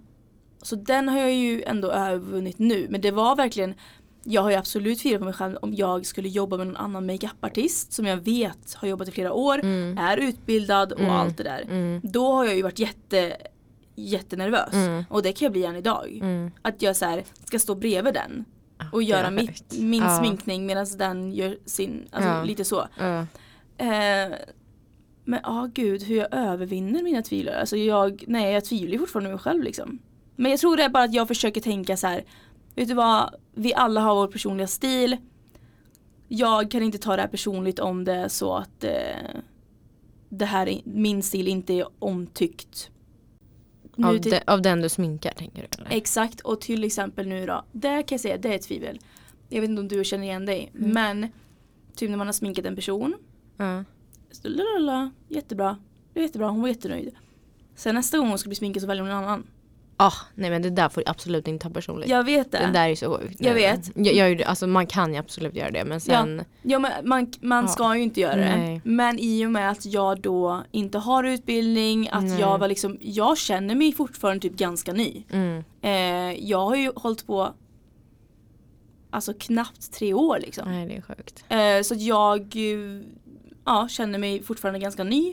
S2: så den har jag ju ändå övervunnit nu men det var verkligen jag har ju absolut tvivlat på mig själv om jag skulle jobba med någon annan makeupartist som jag vet har jobbat i flera år,
S1: Mm.
S2: är utbildad och
S1: Mm.
S2: allt det där.
S1: Mm.
S2: Då har jag ju varit jätte, jättenervös
S1: Mm.
S2: och det kan jag bli än idag.
S1: Mm.
S2: Att jag så här, ska stå bredvid den
S1: Ja,
S2: och
S1: det
S2: göra
S1: är
S2: mitt,
S1: sjukt.
S2: min
S1: Ja.
S2: sminkning medan den gör sin, alltså
S1: Ja.
S2: lite så.
S1: Ja.
S2: Eh, men ja gud hur jag övervinner mina tvivel. Alltså jag, nej jag tvivlar ju fortfarande på mig själv liksom. Men jag tror det är bara att jag försöker tänka så här. Vet du vad, vi alla har vår personliga stil. Jag kan inte ta det här personligt om det är så att eh, det här, är- min stil inte är omtyckt. Nu typ-
S1: Av,
S2: till-
S1: de, av den du sminkar tänker du? Eller?
S2: Exakt och till exempel nu då, där kan jag säga det är ett tvivel. Jag vet inte om du känner igen dig
S1: Mm.
S2: men typ när man har sminkat en person
S1: Ja.
S2: Så, Lalala, jättebra. Det var jättebra, hon var jättenöjd. Sen nästa gång hon skulle bli sminkad så väljer hon en annan.
S1: Ah, nej men det där får du absolut inte ta personligt.
S2: Jag vet det.
S1: det där är ju så sjukt. Nej,
S2: Jag vet.
S1: Jag, jag, gjorde- alltså, man kan ju absolut göra det men sen.
S2: Ja, men man man
S1: Ja.
S2: ska ju inte göra
S1: Nej.
S2: det. Men i och med att jag då inte har utbildning, att
S1: Nej.
S2: jag var liksom, jag känner mig fortfarande typ ganska ny.
S1: Mm.
S2: Eh, jag har ju hållit på alltså knappt tre år liksom.
S1: Nej det är sjukt.
S2: Eh, så att jag eh, ja, känner mig fortfarande ganska ny.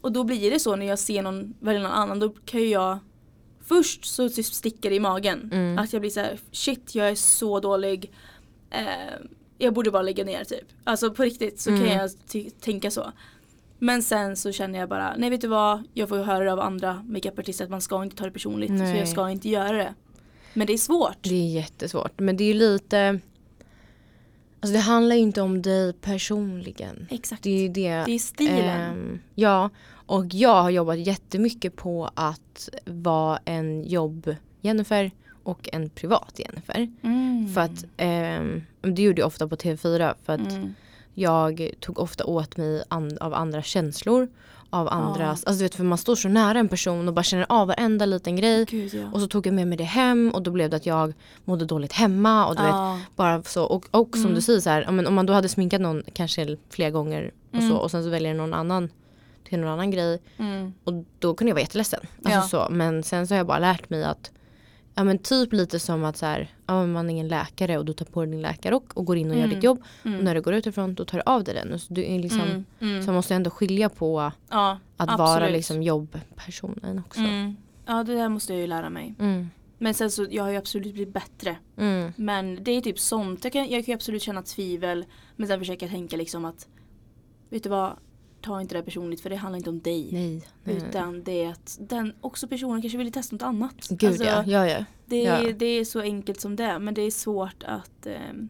S2: Och då blir det så när jag ser någon välja någon annan då kan ju jag Först så typ sticker det i magen.
S1: Mm.
S2: Att jag blir så här: shit jag är så dålig. Eh, jag borde bara lägga ner typ. Alltså på riktigt så
S1: Mm.
S2: kan jag ty- tänka så. Men sen så känner jag bara, nej vet du vad, jag får ju höra av andra makeupartister att man ska inte ta det personligt. Så
S1: Nej.
S2: jag ska inte göra det. Men det är svårt.
S1: Det är jättesvårt men det är ju lite. Alltså det handlar ju inte om dig personligen.
S2: Exakt.
S1: Mm. Det är ju det.
S2: Det är stilen.
S1: Ehm, ja, och jag har jobbat jättemycket på att vara en jobb-Jennifer och en privat-Jennifer.
S2: Mm.
S1: För att, ehm, det gjorde jag ofta på TV4 för att
S2: Mm.
S1: jag tog ofta åt mig an- av andra känslor. Av andras, alltså du vet för man står så nära en person och bara känner av varenda liten grej.
S2: Gud ja.
S1: Och så tog jag med mig det hem och då blev det att jag mådde dåligt hemma. Och du vet,
S2: Ja.
S1: bara så, och, och som du säger så här, ja, men om man då hade sminkat någon kanske flera gånger och, så, och sen så väljer någon annan till någon annan grej.
S2: Mm.
S1: Och då kunde jag vara jätteledsen. Alltså så, men sen så har jag bara lärt mig att Ja men typ lite som att så här, ja, men man är ingen läkare och du tar på dig din läkarrock och går in och gör ditt jobb. Och när du går utifrån då tar du av dig den. Och så, du är liksom,
S2: Mm, mm.
S1: så man måste ändå skilja på
S2: Ja,
S1: att vara liksom jobbpersonen också. Mm.
S2: Mm. Ja det där måste jag ju lära mig.
S1: Mm.
S2: Men sen så jag har ju absolut blivit bättre. Men det är typ sånt. Jag kan, jag kan ju absolut känna tvivel. Men sen försöka tänka liksom att vet du vad, ta inte det här personligt för det handlar inte om dig.
S1: Nej. nej.
S2: Utan det är att den också personen kanske ville testa något annat. Alltså,
S1: Gud ja, ja, ja.
S2: det,
S1: ja.
S2: är, det är så enkelt som det är, men det är svårt att ehm,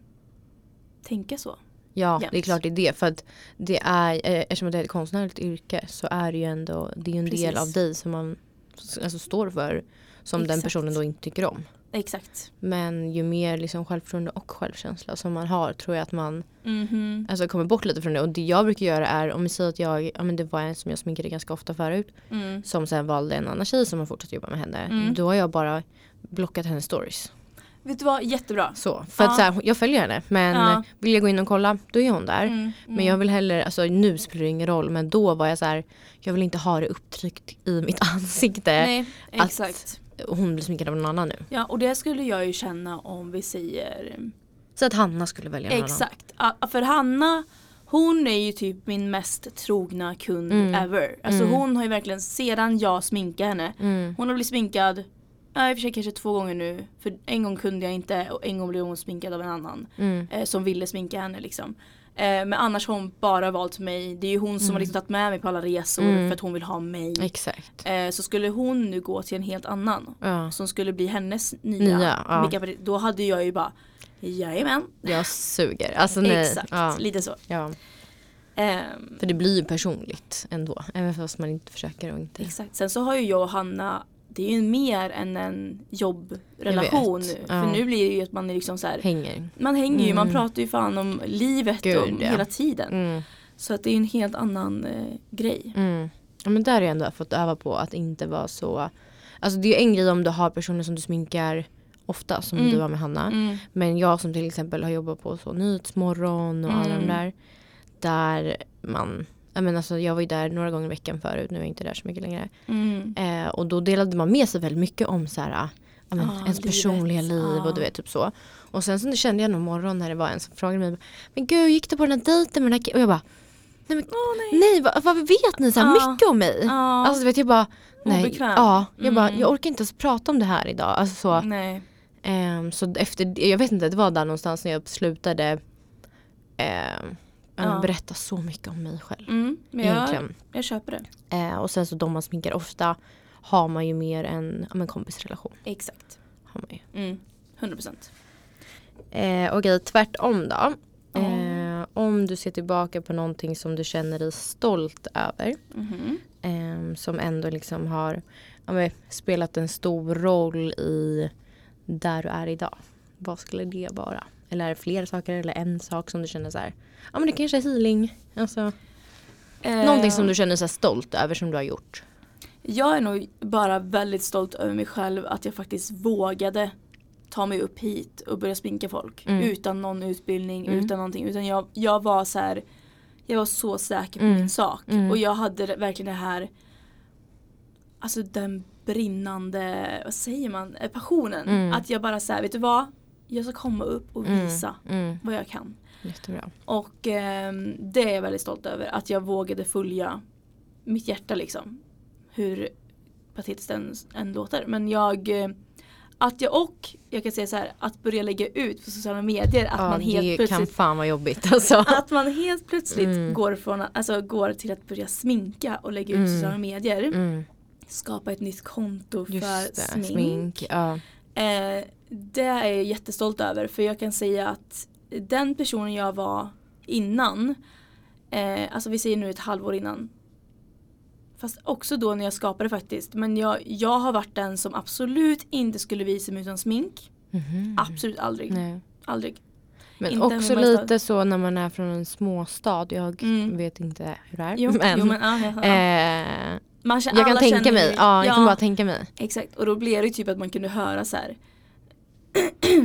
S2: tänka så.
S1: Ja,
S2: jämt.
S1: det är klart det är det. För att det är, eh, eftersom det är ett konstnärligt yrke så är det ju ändå det är ju en del
S2: Precis.
S1: av dig som man s- alltså, står för. Som den
S2: Exakt.
S1: personen då inte tycker om.
S2: Exakt.
S1: Men ju mer liksom självförtroende och självkänsla som man har tror jag att man
S2: Mhm.
S1: alltså, kommer bort lite från det. Och det jag brukar göra är, om vi säger att jag, ja, men det var en som jag sminkade ganska ofta förut.
S2: Mm.
S1: Som sen valde en annan tjej som har fortsatt jobba med henne.
S2: Mm.
S1: Då har jag bara blockat hennes stories.
S2: Vet du vad, jättebra.
S1: Så, för att
S2: Ja.
S1: så här, jag följer henne men
S2: Ja.
S1: vill jag gå in och kolla då är hon där.
S2: Mm, mm.
S1: Men jag vill hellre, alltså nu spelar det ingen roll men då var jag så här, jag vill inte ha det upptryckt i mitt *laughs* ansikte.
S2: Nej,
S1: Eh, att-
S2: exakt.
S1: Hon blir sminkad av någon annan nu.
S2: Ja och det skulle jag ju känna om vi säger
S1: Så att Hanna skulle välja någon annan.
S2: Exakt, Ja, för Hanna hon är ju typ min mest trogna kund
S1: Mm.
S2: ever. Alltså
S1: Mm.
S2: hon har ju verkligen sedan jag sminkade henne.
S1: Mm.
S2: Hon har blivit sminkad, ja, i och för sig kanske två gånger nu. För en gång kunde jag inte och en gång blev hon sminkad av en annan.
S1: Mm.
S2: Eh, som ville sminka henne liksom. Eh, men annars har hon bara valt mig. Det är ju hon som har liksom tagit med mig på alla resor
S1: Mm.
S2: för att hon vill ha mig.
S1: Exakt.
S2: Eh, så skulle hon nu gå till en helt annan
S1: Ja.
S2: som skulle bli hennes nya
S1: Nya, ja.
S2: makeup- Då hade jag ju bara Jajamän,
S1: Jag suger. Alltså nej.
S2: exakt,
S1: Ja.
S2: lite så.
S1: Ja.
S2: Ehm,
S1: För det blir ju personligt ändå. Även fast man inte försöker och inte.
S2: exakt. Sen så har ju jag och Hanna, det är ju mer än en jobbrelation
S1: Jag
S2: nu.
S1: vet,
S2: För
S1: ja.
S2: nu blir det ju att man är liksom så här,
S1: Hänger.
S2: man hänger ju, man pratar ju fan om livet
S1: Gud,
S2: om
S1: ja.
S2: hela tiden.
S1: Mm.
S2: Så att det är ju en helt annan eh, grej.
S1: Mm. Ja, men där har jag ändå fått öva på att inte vara så. Alltså det är ju en grej om du har personer som du sminkar ofta som
S2: Mm.
S1: du har med Hanna.
S2: Mm.
S1: Men jag som till exempel har jobbat på så Nyhetsmorgon och alla de
S2: Mm.
S1: där. Där man, jag, menar, alltså, jag var ju där några gånger i veckan förut, nu är jag inte där så mycket längre.
S2: Mm.
S1: Eh, och då delade man med sig väldigt mycket om så här, ja, men,
S2: Ah,
S1: ens
S2: livet.
S1: personliga liv och du
S2: Ah.
S1: vet typ så. Och sen så kände jag någon morgon när det var en som frågade mig, men gud gick du på den här dejten med den här ki-" Och jag bara, nej men
S2: Åh, nej.
S1: nej vad, vad vet ni så här
S2: Ah.
S1: mycket om mig?
S2: Ja.
S1: Alltså du vet jag bara, nej,
S2: Obekväm.
S1: ja, jag, bara,
S2: Mm.
S1: jag orkar inte ens prata om det här idag. Alltså, så,
S2: nej.
S1: Ehm, så efter, det- jag vet inte, det var där någonstans när jag slutade ehm,
S2: Ja.
S1: berätta så mycket om mig själv.
S2: Mm. Men jag,
S1: Egentligen.
S2: jag köper det.
S1: Eh, och sen så de man sminkar ofta har man ju mer en, ja, men kompisrelation.
S2: Exakt.
S1: Har man ju.
S2: Mm. 100%.
S1: Eh, Okej, tvärtom då.
S2: Ja.
S1: Eh, om du ser tillbaka på någonting som du känner dig stolt över.
S2: Mhm.
S1: ehm, som ändå liksom har ja, men, spelat en stor roll i där du är idag. Vad skulle det vara? Eller är det fler saker eller en sak som du känner så här, ja men det kanske är healing. Alltså, Någonting som
S2: Eh,
S1: du känner så här stolt över som du har gjort.
S2: Jag är nog bara väldigt stolt över mig själv att jag faktiskt vågade ta mig upp hit och börja sminka folk
S1: Mm.
S2: utan någon utbildning,
S1: Mm.
S2: utan någonting. Utan jag, jag var så här, jag var så säker på
S1: Mm.
S2: min sak.
S1: Mm.
S2: Och jag hade det- verkligen det här, alltså den brinnande, vad säger man, eh, passionen.
S1: Mm.
S2: Att jag bara så här, vet du vad? Jag ska komma upp och visa
S1: Mm.
S2: vad jag kan.
S1: Jättebra.
S2: Och ehm, det är jag väldigt stolt över. Att jag vågade följa mitt hjärta liksom. Hur patetiskt den än låter. Men jag eh, att jag och, jag kan säga så här, att börja lägga ut på sociala medier att
S1: ja,
S2: man helt
S1: det kan
S2: plötsligt
S1: fan vara jobbigt alltså.
S2: *laughs* att man helt plötsligt
S1: Mm.
S2: går, från, att- alltså, går till att börja sminka och lägga ut
S1: Mm.
S2: sociala medier.
S1: *laughs* Mm.
S2: Skapa ett nytt konto för
S1: Just det, smink.
S2: smink.
S1: Ja.
S2: Eh, det är jag jättestolt över för jag kan säga att den personen jag var innan, eh, alltså vi säger nu ett halvår innan, fast också då när jag skapade faktiskt, men jag, jag har varit den som absolut inte skulle visa mig utan smink.
S1: Mhm.
S2: Absolut aldrig.
S1: Nej.
S2: Aldrig.
S1: Men
S2: Inte
S1: också
S2: hemma i stad.
S1: lite så när man är från en småstad. Jag
S2: Mm.
S1: vet inte hur det är.
S2: Jo,
S1: *laughs* men,
S2: jo, men, ah, ja, ja.
S1: Eh,
S2: Man känner-
S1: jag kan
S2: alla
S1: tänka
S2: känner
S1: mig.
S2: ju-
S1: Ja, jag kan bara tänka mig.
S2: Exakt, och då blir det ju typ att man kunde höra så här.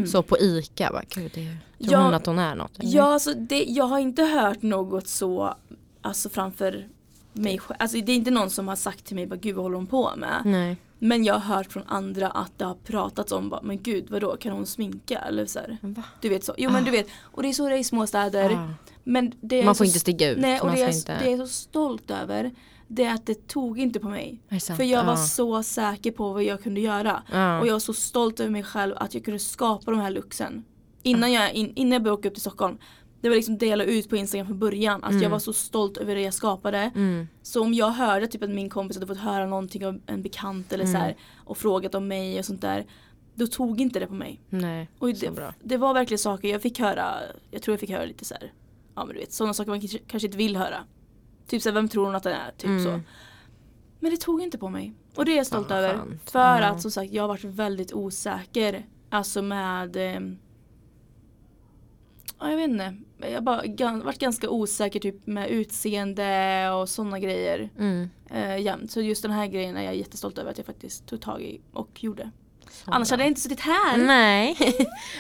S1: Så på ICA. Bara, Gud, det, tror
S2: Mm. Ja.
S1: hon att hon är något? eller?
S2: Ja, alltså det, jag har inte hört något så alltså framför mig själv. Alltså det är inte någon som har sagt till mig bara gud vad håller hon på med?
S1: Nej.
S2: Men jag har hört från andra att det har pratats om bara men gud vadå kan hon sminka eller så här.
S1: Va?
S2: Du vet så. Jo men du vet och det är så det är i småstäder.
S1: Ah.
S2: Men det är
S1: Man
S2: så
S1: får inte sticka ut.
S2: Nej och
S1: man
S2: det,
S1: ska
S2: är,
S1: inte...
S2: det är så stolt över det är att det tog inte på mig.
S1: Är det sant?
S2: För jag var
S1: Ja.
S2: så säker på vad jag kunde göra.
S1: Ja.
S2: Och jag var så stolt över mig själv att jag kunde skapa de här looksen. Innan jag, in, innan jag började åka upp till Stockholm. Det var liksom det jag la ut på Instagram från början. Att jag var så stolt över det jag skapade.
S1: Mm.
S2: Så om jag hörde typ att min kompis hade fått höra någonting av en bekant eller så
S1: Mm.
S2: här, och frågat om mig och sånt där. Då tog inte det på mig.
S1: Nej.
S2: Och
S1: Så bra.
S2: det, det var verkligen saker jag fick höra. Jag tror jag fick höra lite så här. Ja men du vet sådana saker man kanske- kanske inte vill höra. Typ så här, vem tror hon att den är? Typ
S1: Mm.
S2: så. Men det tog inte på mig. Och det är jag stolt
S1: Fan, vad
S2: över.
S1: skönt.
S2: För
S1: Ja.
S2: att som sagt jag har varit väldigt osäker. Alltså med ehm, Ja jag vet inte. Jag har bara gan- varit ganska osäker typ med utseende och sådana grejer.
S1: Mm.
S2: Eh, jämt. Så just den här grejen är jag jättestolt över att jag faktiskt tog tag i och gjorde.
S1: Så
S2: Annars
S1: bra.
S2: hade jag inte suttit här. *laughs*
S1: Nej.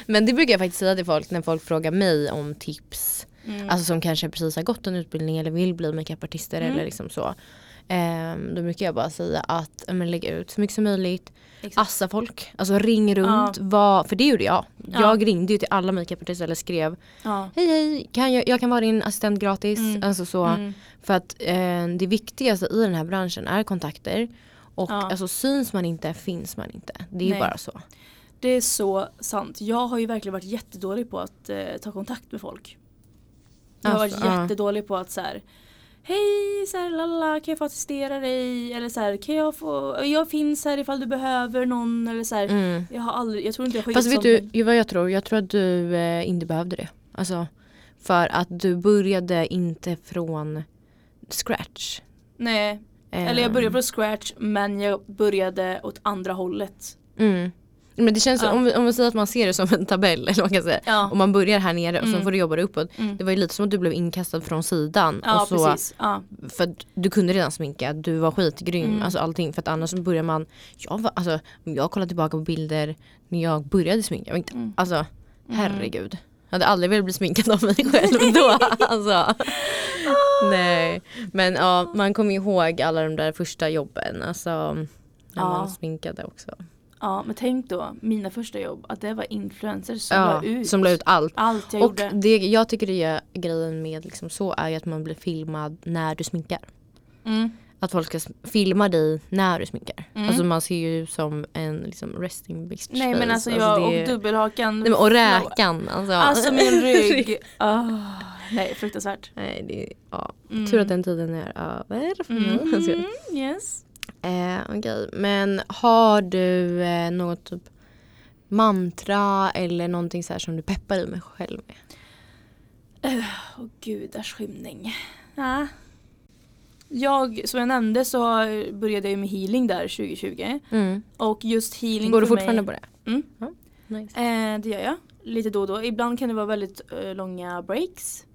S1: men det brukar jag faktiskt säga till folk när folk frågar mig om tips.
S2: Mm. Mm.
S1: Alltså som kanske precis har gått en utbildning eller vill bli makeupartister eller liksom så. Ehm, då brukar jag bara säga att eh, men, lägg ut så mycket som möjligt.
S2: Exakt.
S1: Assa folk, alltså ring runt. Vad, för det gjorde jag. Jag ringde ju till alla makeupartister eller skrev
S2: Ja.
S1: hej hej, kan jag, jag kan vara din assistent gratis.
S2: Mm.
S1: Alltså så, För att eh, det viktigaste i den här branschen är kontakter. Och
S2: Ja.
S1: alltså syns man inte finns man inte. Det är ju
S2: Nej.
S1: bara så.
S2: Det är så sant. Jag har ju verkligen varit jättedålig på att eh, ta kontakt med folk. Jag har varit
S1: Alltså, ja.
S2: jättedålig på att så här Hej, så här, lala, kan jag få assistera dig? Eller så här, kan jag få, jag finns här ifall du behöver någon eller så här.
S1: Mm.
S2: Jag har aldrig, jag tror inte jag har
S1: Fast
S2: gjort
S1: vet
S2: sånt.
S1: du ju vad jag tror? Jag tror att du eh, inte behövde det. Alltså, för att du började inte från scratch.
S2: Nej,
S1: Eh,
S2: eller jag började från scratch men jag började åt andra hållet.
S1: Mm. Men det känns,
S2: Ja.
S1: om, vi- om vi säger att man ser det som en tabell *laughs* eller vad man kan säga.
S2: Ja,
S1: Om man börjar här nere och
S2: Mm.
S1: så får du jobba dig uppåt.
S2: Mm.
S1: Det var ju lite som att du blev inkastad från sidan.
S2: ja
S1: och så,
S2: precis. Ja.
S1: För att du kunde redan sminka, du var skitgrym,
S2: Mm.
S1: alltså allting. För att annars så börjar man, jag var, alltså om jag kollar tillbaka på bilder när jag började sminka, jag var inte,
S2: Mm.
S1: alltså herregud. Jag hade aldrig velat bli sminkad av
S2: *laughs*
S1: mig själv då alltså.
S2: Ah.
S1: Nej. Men ja, man kommer ihåg alla de där första jobben, alltså när
S2: Ja.
S1: man sminkade också.
S2: ja, men tänk då, mina första jobb, att det var influencers som
S1: ja,
S2: la ut
S1: Som la ut allt.
S2: allt jag
S1: och
S2: gjorde.
S1: det jag tycker det är grejen med liksom så är ju att man blir filmad när du sminkar.
S2: Mm.
S1: Att folk ska sm- filma dig när du sminkar.
S2: Mm.
S1: Alltså man ser ju ut som en liksom resting bitch
S2: Nej men
S1: face.
S2: alltså jag
S1: det är-
S2: och dubbelhakan.
S1: Nej, men, och räkan. Alltså, *laughs*
S2: Alltså min rygg. Ah, nej fruktansvärt.
S1: Nej, det är, ja.
S2: Mm.
S1: Tur att den tiden är över för mig. *laughs* Jag skojar.
S2: Mm, yes.
S1: Eh, Okej, men har du eh, något typ mantra eller någonting så här som du peppar i mig själv med?
S2: Åh gudars skymning. Ja. Jag, som jag nämnde så har- började jag ju med healing där 2020. Och just healing
S1: Går du
S2: för
S1: fortfarande
S2: mig,
S1: på det?
S2: Mm.
S1: Ja, nice.
S2: Eh, det gör jag. Lite då och då. Ibland kan det vara väldigt eh, långa breaks.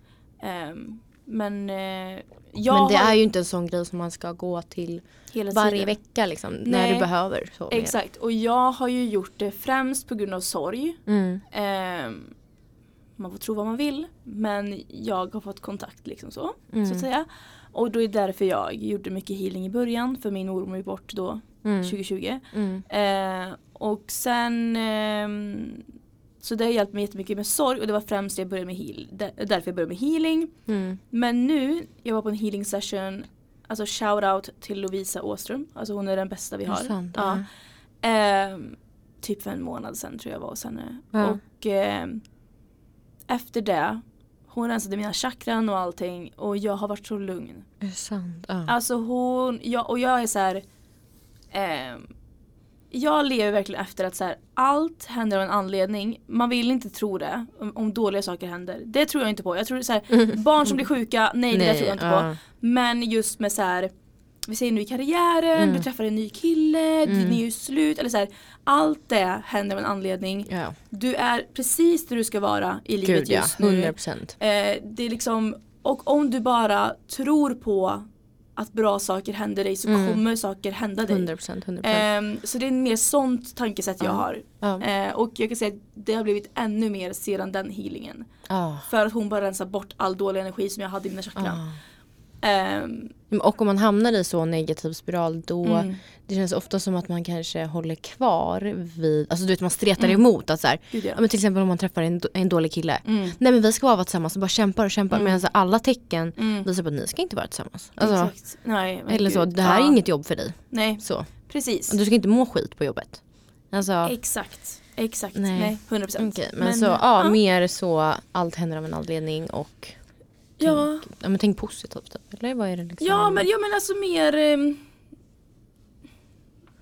S2: Ehm, men eh, jag
S1: men det
S2: har
S1: är ju inte en sån grej som man ska gå till
S2: hela
S1: varje
S2: tiden-
S1: vecka liksom, när
S2: Nej.
S1: du behöver. Så mer.
S2: Exakt. Och jag har ju gjort det främst på grund av sorg.
S1: Mm.
S2: Ehm, man får tro vad man vill men jag har fått kontakt liksom så.
S1: Mm.
S2: så att säga. Och då är det därför jag gjorde mycket healing i början för min orm är bort då
S1: Mm.
S2: 2020.
S1: Mm.
S2: Eh, och sen ehm, så det har hjälpt mig jättemycket med sorg och det var främst det jag började med heal, där, därför jag började med healing.
S1: Mm.
S2: Men nu, jag var på en healing session, alltså shout out till Lovisa Åström, alltså hon är den bästa vi
S1: Är det
S2: har.
S1: sant?
S2: Ja. Ehm, typ för en månad sedan tror jag var hos henne.
S1: Ja.
S2: Och ehm, efter det, hon rensade mina chakran och allting och jag har varit så lugn.
S1: Är det sant? Ja.
S2: Alltså hon, jag, och jag är så här. ehm, jag lever verkligen efter att så här, allt händer av en anledning. Man vill inte tro det om, om dåliga saker händer. Det tror jag inte på. Jag tror
S1: *laughs*
S2: så här, barn som blir sjuka, nej, det
S1: Nej,
S2: där tror jag inte
S1: ja.
S2: på. Men just med så här, vi säger nu i karriären,
S1: Mm.
S2: du träffar en ny kille, du, ni är ju slut. Eller så här, allt det händer av en anledning.
S1: Ja.
S2: Du är precis där du ska vara i livet
S1: Gud ja,
S2: just nu.
S1: 100 procent.
S2: Eh, det är liksom, och om du bara tror på att bra saker händer dig så kommer saker hända dig.
S1: 100 Mm. procent.
S2: Ehm, så det är mer sånt tankesätt jag har.
S1: Ja.
S2: Eh, och jag kan säga att det har blivit ännu mer sedan den healingen.
S1: Ja.
S2: För att hon bara rensar bort all dålig energi som jag hade i mina chakran. Ehm,
S1: Men Och om man hamnar i så negativ spiral då
S2: Mm.
S1: det känns ofta som att man kanske håller kvar vid, alltså du vet man stretar emot att så här,
S2: Mm. Gud, ja. Mm.
S1: ja, men till exempel om man träffar en, en dålig kille. Nej men vi ska vara tillsammans och bara kämpar och kämpar medan så alla tecken visar på att ni ska inte vara tillsammans. Alltså,
S2: Mm. exakt. Nej, men
S1: eller så,
S2: gud.
S1: det här
S2: Ja.
S1: är inget jobb för dig.
S2: Nej,
S1: Så.
S2: precis.
S1: Du ska inte må skit på jobbet. Alltså,
S2: Exakt. Exakt.
S1: Nej.
S2: Nej, 100%. procent.
S1: okej, men, så ja, mer så allt händer av en anledning och
S2: ja.
S1: ja, men tänk positivt typ, eller vad är det liksom?
S2: Ja men, ja men alltså mer... ehm,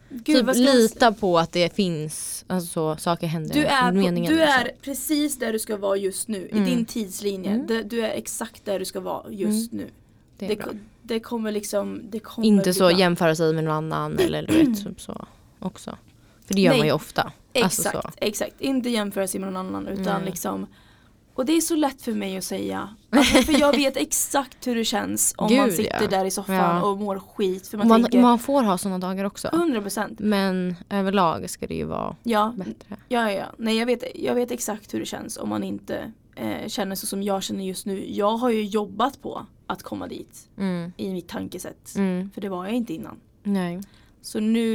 S2: Gud,
S1: typ
S2: vad ska man s-
S1: lita på att det finns, alltså saker händer.
S2: du är, på,
S1: meningen
S2: du
S1: liksom. Mm.
S2: är precis där du ska vara just nu i din tidslinje. Du, du är exakt där du ska vara just nu.
S1: Mm. Det är
S2: Det,
S1: bra.
S2: ko- det kommer liksom... Det kommer
S1: Inte
S2: bli
S1: så
S2: bra.
S1: jämföra sig med någon annan eller du vet typ så också. För det gör
S2: Nej.
S1: man ju ofta.
S2: Exakt,
S1: Alltså så.
S2: exakt. Inte jämföra sig med någon annan utan liksom och det är så lätt för mig att säga. Alltså, för jag vet exakt hur det känns
S1: *laughs*
S2: om man
S1: Gud,
S2: sitter
S1: ja.
S2: där i soffan
S1: Ja.
S2: och mår skit. För man,
S1: Man, man,
S2: tänker Mm.
S1: får ha sådana dagar också.
S2: 100%
S1: Men överlag ska det ju vara
S2: ja,
S1: bättre.
S2: Ja, ja, ja. Nej, jag, vet, jag vet exakt hur det känns om man inte eh, känner så som jag känner just nu. Jag har ju jobbat på att komma dit
S1: Mm.
S2: i mitt tankesätt.
S1: Mm.
S2: För det var jag inte innan.
S1: Nej.
S2: Så nu...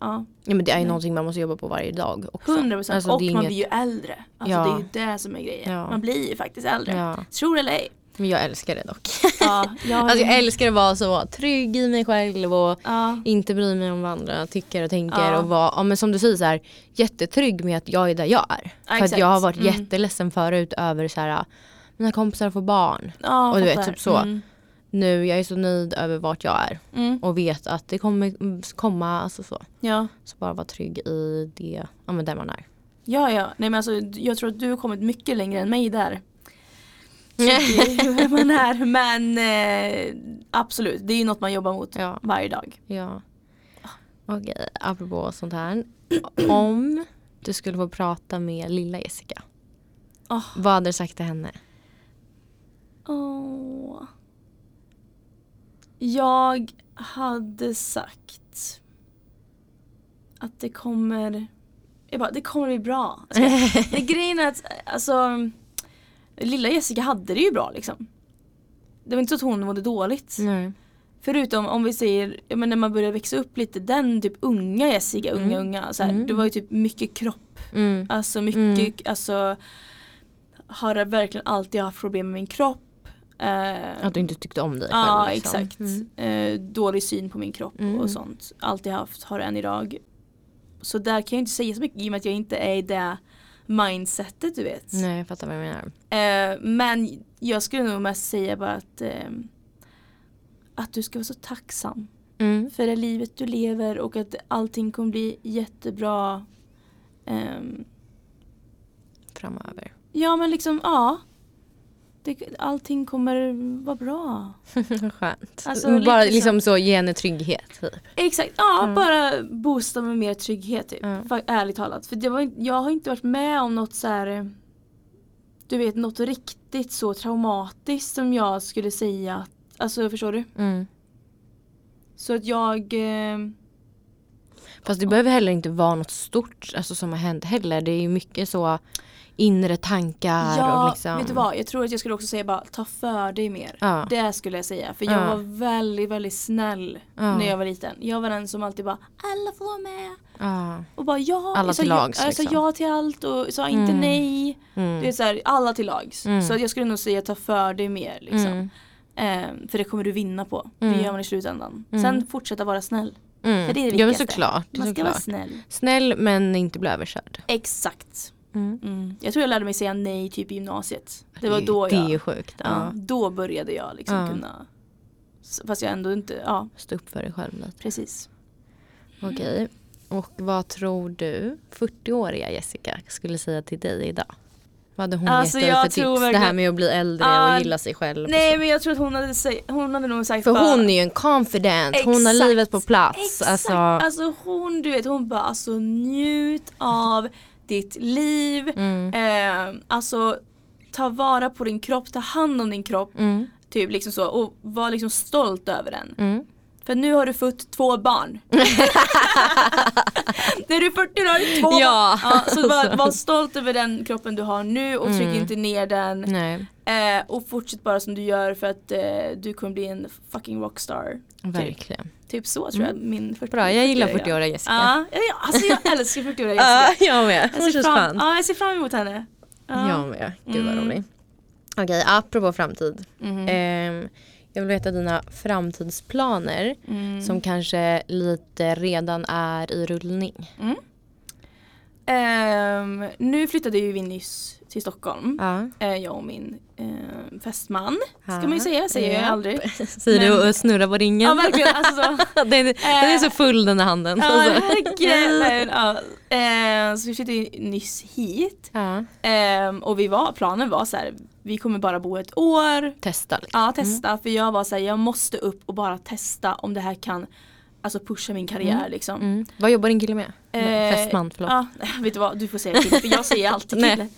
S2: Ja,
S1: Ja, men det är ju någonting man måste jobba på varje dag också.
S2: 100 procent.
S1: Alltså,
S2: och
S1: det är
S2: man
S1: inget-
S2: blir ju äldre. Alltså,
S1: Ja.
S2: Det är ju det som är grejen.
S1: Ja.
S2: Man blir ju faktiskt äldre.
S1: Ja.
S2: Tror
S1: *laughs*
S2: eller ej.
S1: Men jag älskar det dock.
S2: Ja, jag,
S1: Alltså jag älskar att vara så trygg i mig själv och
S2: ja,
S1: inte bry mig om vad andra tycker och tänker
S2: Ja.
S1: och vara, ja, men som du säger så här, jättetrygg med att jag är där jag är. För att
S2: exakt.
S1: jag har varit
S2: Mm.
S1: jätteledsen förut över så här, mina kompisar får barn.
S2: Ja,
S1: och du vet
S2: fattar.
S1: typ så.
S3: Mm.
S1: Nu jag är så nöjd över vart jag är
S3: Mm.
S1: och vet att det kommer komma, alltså så.
S3: Ja.
S1: Så bara vara trygg i det, ja men där man är.
S2: Ja, ja. Nej, men alltså, jag tror att du har kommit mycket längre än mig där. *laughs* Så det är ju hur man är. Men eh, absolut, det är ju något man jobbar mot
S1: Ja.
S2: varje dag.
S1: Ja.
S2: Ah.
S1: Okej, apropå sånt här. Om du skulle få prata med lilla Jessica.
S2: Åh.
S1: Vad hade du sagt till henne?
S2: Åh. Jag hade sagt att det kommer, jag bara, det kommer bli bra. *laughs* Men grejen är att alltså, lilla Jessica hade det ju bra liksom. Det var inte så att hon mådde dåligt.
S1: Nej.
S2: Förutom om vi säger, ja, men när man börjar växa upp lite, den typ unga Jessica, unga unga, så här,
S1: Mm.
S2: det var ju typ mycket kropp,
S1: Mm.
S2: alltså mycket,
S1: Mm.
S2: alltså har verkligen alltid haft problem med min kropp. Eh,
S1: Att du inte tyckte om dig
S2: ja,
S1: själv. liksom.
S2: Ah, exakt.
S1: Mm.
S2: Eh, dålig syn på min kropp
S1: Mm.
S2: och sånt. Alltid haft, har än idag. Så där kan jag inte säga så mycket i och med att jag inte är i det mindsetet du vet.
S1: Nej, jag fattar vad du menar.
S2: Eh, men jag skulle nog mest säga bara att eh, att du ska vara så tacksam
S1: Mm.
S2: för det livet du lever och att allting kommer bli jättebra. Ehm,
S1: Framöver. *laughs*
S2: ja men liksom, ja. Det, allting kommer vara bra.
S1: Skönt.
S2: Alltså,
S1: Bara
S2: lite så.
S1: liksom så ge henne trygghet. Typ.
S2: Exakt, ja
S1: Mm.
S2: bara boosta med mer trygghet typ.
S1: Mm.
S2: Fa- Ärligt talat. För det var, inte- jag har inte varit med om något så här. eh, Du vet något riktigt så traumatiskt som jag skulle säga. att- Alltså förstår du?
S1: Mm.
S2: Så att jag eh,
S1: Fast det behöver heller inte vara något stort alltså, som har hänt heller. Det är ju mycket så inre tankar
S2: Ja,
S1: och liksom.
S2: vet du vad? Jag tror att jag skulle också säga bara ta för dig mer.
S1: Ja.
S2: Det skulle jag säga. För
S1: Ja.
S2: jag var väldigt, väldigt snäll
S1: Ja.
S2: när jag var liten. Jag var den som alltid bara alla får vara med.
S1: Ja.
S2: Och bara ja.
S1: Alla
S2: jag sa
S1: till
S2: ja-
S1: lags,
S2: Jag sa
S1: liksom.
S2: ja till allt och sa inte
S1: Mm.
S2: nej.
S1: Mm.
S2: Det är så här, alla till lags.
S1: Mm.
S2: Så att jag skulle nog säga ta för dig mer. Liksom.
S1: Mm.
S2: Eh, för det kommer du vinna på.
S1: Mm.
S2: Det gör man i slutändan.
S1: Mm.
S2: Sen fortsätta vara snäll.
S1: Mm.
S2: För det är det
S1: ja men
S2: viktigaste.
S1: såklart.
S2: Man ska
S1: såklart.
S2: vara snäll.
S1: Snäll men inte bli överkörd.
S2: Exakt.
S1: Mm.
S2: Mm. Jag tror jag lärde mig säga nej typ i gymnasiet. Det var
S1: är-
S2: då
S1: Det är
S2: jag
S1: ju sjukt. Ja.
S2: Ja. Då började jag liksom
S1: Ja.
S2: kunna S- Fast jag ändå inte, ja
S1: Stå upp för dig själv lite.
S2: precis. Mm.
S1: Okej. Och vad tror du 40-åriga Jessica skulle säga till dig idag? Vad hade hon
S2: Alltså,
S1: gett dig
S2: jag
S1: för
S2: tror
S1: tips? Det här
S2: verkligen-
S1: med att bli äldre
S2: Ah,
S1: och gilla sig själv. och
S2: Nej men jag tror att hon hade, sä- hon hade nog sagt
S1: För
S2: bara,
S1: hon är ju en confident, hon har
S2: Exakt,
S1: livet på plats.
S2: Exakt! Alltså,
S1: Alltså,
S2: hon du vet hon bara alltså njut av ditt liv.
S1: mm,
S2: Eh, alltså ta vara på din kropp, ta hand om din kropp.
S1: mm,
S2: Typ liksom så och var liksom stolt över den.
S1: mm.
S2: För nu har du fått två
S1: *laughs*
S2: barn. När du är 40 då har du två
S1: Ja.
S2: barn. Ja,
S1: *laughs*
S2: så var, var stolt över den kroppen du har nu och tryck
S1: Mm.
S2: inte ner den.
S1: Nej,
S2: Eh, och fortsätt bara som du gör för att eh, du kommer bli en fucking rockstar.
S1: verkligen.
S2: Typ så tror jag min 40
S1: Mm. Bra, jag gillar
S2: 40-åriga.
S1: 40-åriga Jessica.
S2: Ja, ja, ja, alltså jag älskar
S1: *laughs*
S2: 40-åriga
S1: Ja,
S2: Jessica.
S1: jag med.
S2: Ah, Jag Alltså,
S1: Hon
S2: ser,
S1: känns
S2: fram,
S1: skön.
S2: ja, jag ser fram emot henne. Ja.
S1: Jag med. Gud vad
S2: Mm.
S1: rolig. Okej, apropå framtid.
S2: Mhm.
S1: Ehm, jag vill veta dina framtidsplaner
S2: Mm.
S1: som kanske lite redan är i rullning.
S2: Ehm, nu flyttade ju vi nyss till Stockholm.
S1: Ja.
S2: Eh, jag och min eh, fästman. Ska
S1: Ja.
S2: man ju säga, säger jag
S1: Ja. *laughs*
S2: aldrig.
S1: *laughs* Säger du och snurrar på ringen.
S2: Ja verkligen, alltså så.
S1: *laughs* den, den är så full den här handen.
S2: Ja,
S1: Alltså.
S2: verkligen. Ja. Eh, så vi flyttade ju nyss hit.
S1: Ja.
S2: Ehm, och vi var, planen var så här, vi kommer bara bo ett år.
S1: Testa. lite.
S2: Ja, testa. För jag var så här, jag måste upp och bara testa om det här kan alltså pusha min karriär liksom.
S1: Mm. Vad jobbar din kille med? Nej,
S2: Eh,
S1: Fästman, förlåt.
S2: Ja, *laughs* vet du vad, du får säga kille för jag säger
S1: *laughs*
S2: alltid
S1: Nej.
S2: kille.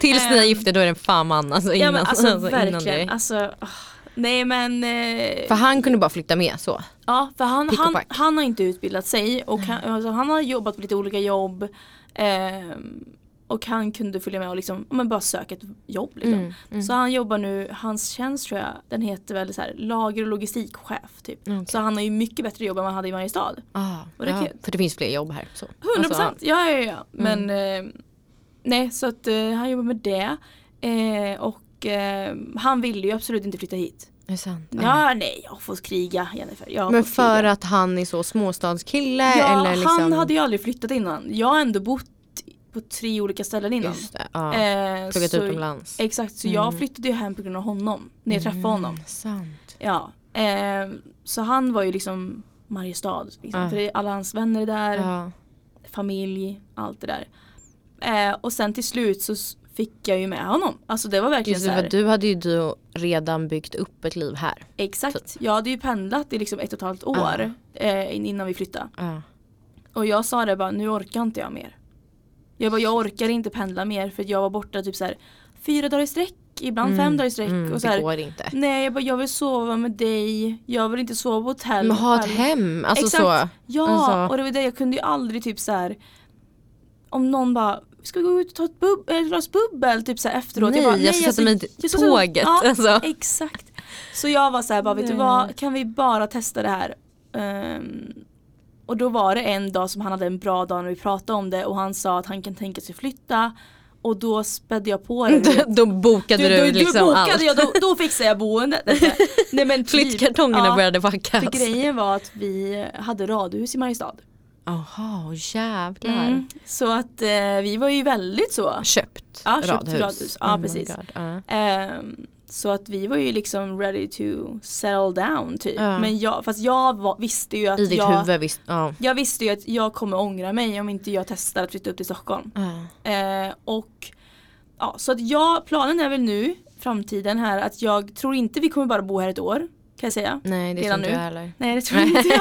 S1: Tills ni är gifta då är det fan man. Alltså, innan,
S2: ehm. ja men alltså,
S1: *laughs* innan
S2: verkligen.
S1: det.
S2: Alltså, åh. nej men. eh,
S1: För han kunde bara flytta med så.
S2: Ja, för han,
S1: Pick och
S2: han,
S1: pack.
S2: han har inte utbildat sig och han, alltså, han har jobbat på lite olika jobb. ehm, och han kunde följa med och liksom, ja, men bara söka ett jobb. Liksom.
S1: Mm, mm.
S2: Så han jobbar nu, hans tjänst tror jag, den heter väl så här, lager och logistikchef. Typ.
S1: Mm, Okej.
S2: Så han har ju mycket bättre jobb än vad han hade i varje stad.
S1: Ah,
S2: Och det
S1: ja,
S2: kan-
S1: För det finns fler jobb här. Så.
S2: 100%
S1: Alltså, ja. Mm.
S2: ja, ja, ja. Men eh, nej, så att eh, han jobbar med det. Eh, och eh, han ville ju absolut inte flytta hit.
S1: Är det sant? Alltså, Ja.
S2: Ja, nej, jag får kriga Jennifer. Jag har
S1: Men
S2: fått
S1: för
S2: kriga.
S1: att han är så småstadskille
S2: Ja,
S1: eller liksom?
S2: han hade ju aldrig flyttat innan. Jag har ändå bott på tre olika ställen innan.
S1: Just det, ja.
S2: Eh,
S1: Pluggat
S2: så-
S1: utomlands. Mm.
S2: Exakt, så jag flyttade ju hem på grund av honom. När jag träffade honom.
S1: Sant.
S2: Ja. Eh, så han var ju liksom Mariestad. Liksom,
S1: Ja.
S2: För det är alla hans vänner är där,
S1: Ja.
S2: familj, allt det där. Eh, och sen till slut så s- fick jag ju med honom. Alltså det var verkligen
S1: Just
S2: så
S1: det,
S2: här.
S1: för du hade ju du redan byggt upp ett liv här.
S2: Exakt, jag hade ju pendlat i liksom ett och ett halvt år eh, in- innan vi flyttade.
S1: Ja.
S2: Och jag sa det bara, nu orkar inte jag mer. Jag bara, jag orkar inte pendla mer för att jag var borta typ så här fyra dagar i sträck, ibland fem dagar i sträck.
S1: Mm,
S2: och så
S1: det
S2: här,
S1: går inte.
S2: nej, jag bara, jag vill sova med dig, jag vill inte sova på hotell.
S1: Men ha ett
S2: själv.
S1: hem, alltså
S2: Exakt.
S1: så.
S2: Ja,
S1: Alltså.
S2: och det var det, jag kunde ju aldrig typ så här om någon bara Ska vi gå ut och ta ett, bub- ett glas bubbel typ så här efteråt?
S1: Nej,
S2: bara,
S1: jag ska sätta mig i
S2: jag ska sätta-
S1: tåget,
S2: Ja,
S1: alltså.
S2: exakt. Så jag var så här, bara, vet du
S1: Nej.
S2: vad, kan vi bara testa det här? Ehm, och då var det en dag som han hade en bra dag när vi pratade om det och han sa att han kan tänka sig flytta och då spädde jag
S1: *laughs*
S2: på det.
S1: Då- Då bokade du, liksom
S2: bokade
S1: allt.
S2: jag, då, då fixade
S1: *laughs*
S2: jag boendet. Nej, men typ.
S1: Flyttkartongerna
S2: Ja,
S1: började packas.
S2: För grejen var att vi hade radhus i Mariestad.
S1: Jaha, jävlar.
S2: Mm. Så att eh, vi var ju väldigt så.
S1: Köpt Oh
S2: Ja, köpt radhus. Ja,
S1: my
S2: precis.
S1: God, ja.
S2: Ehm, så att vi var ju liksom ready to settle down typ.
S1: Ja.
S2: Men jag, fast jag var, visste ju att
S1: I ditt
S2: jag,
S1: huvud visst. Ja.
S2: jag visste ju att jag kommer ångra mig om inte jag testar att flytta upp till Stockholm.
S1: Ja.
S2: Eh, och ja, så att jag, planen är väl nu, framtiden här, att jag tror inte vi kommer bara bo här ett år. Kan jag säga.
S1: Nej det tror
S2: Redan
S1: inte
S2: nu.
S1: jag heller.
S2: Nej det tror
S1: *laughs*
S2: inte jag.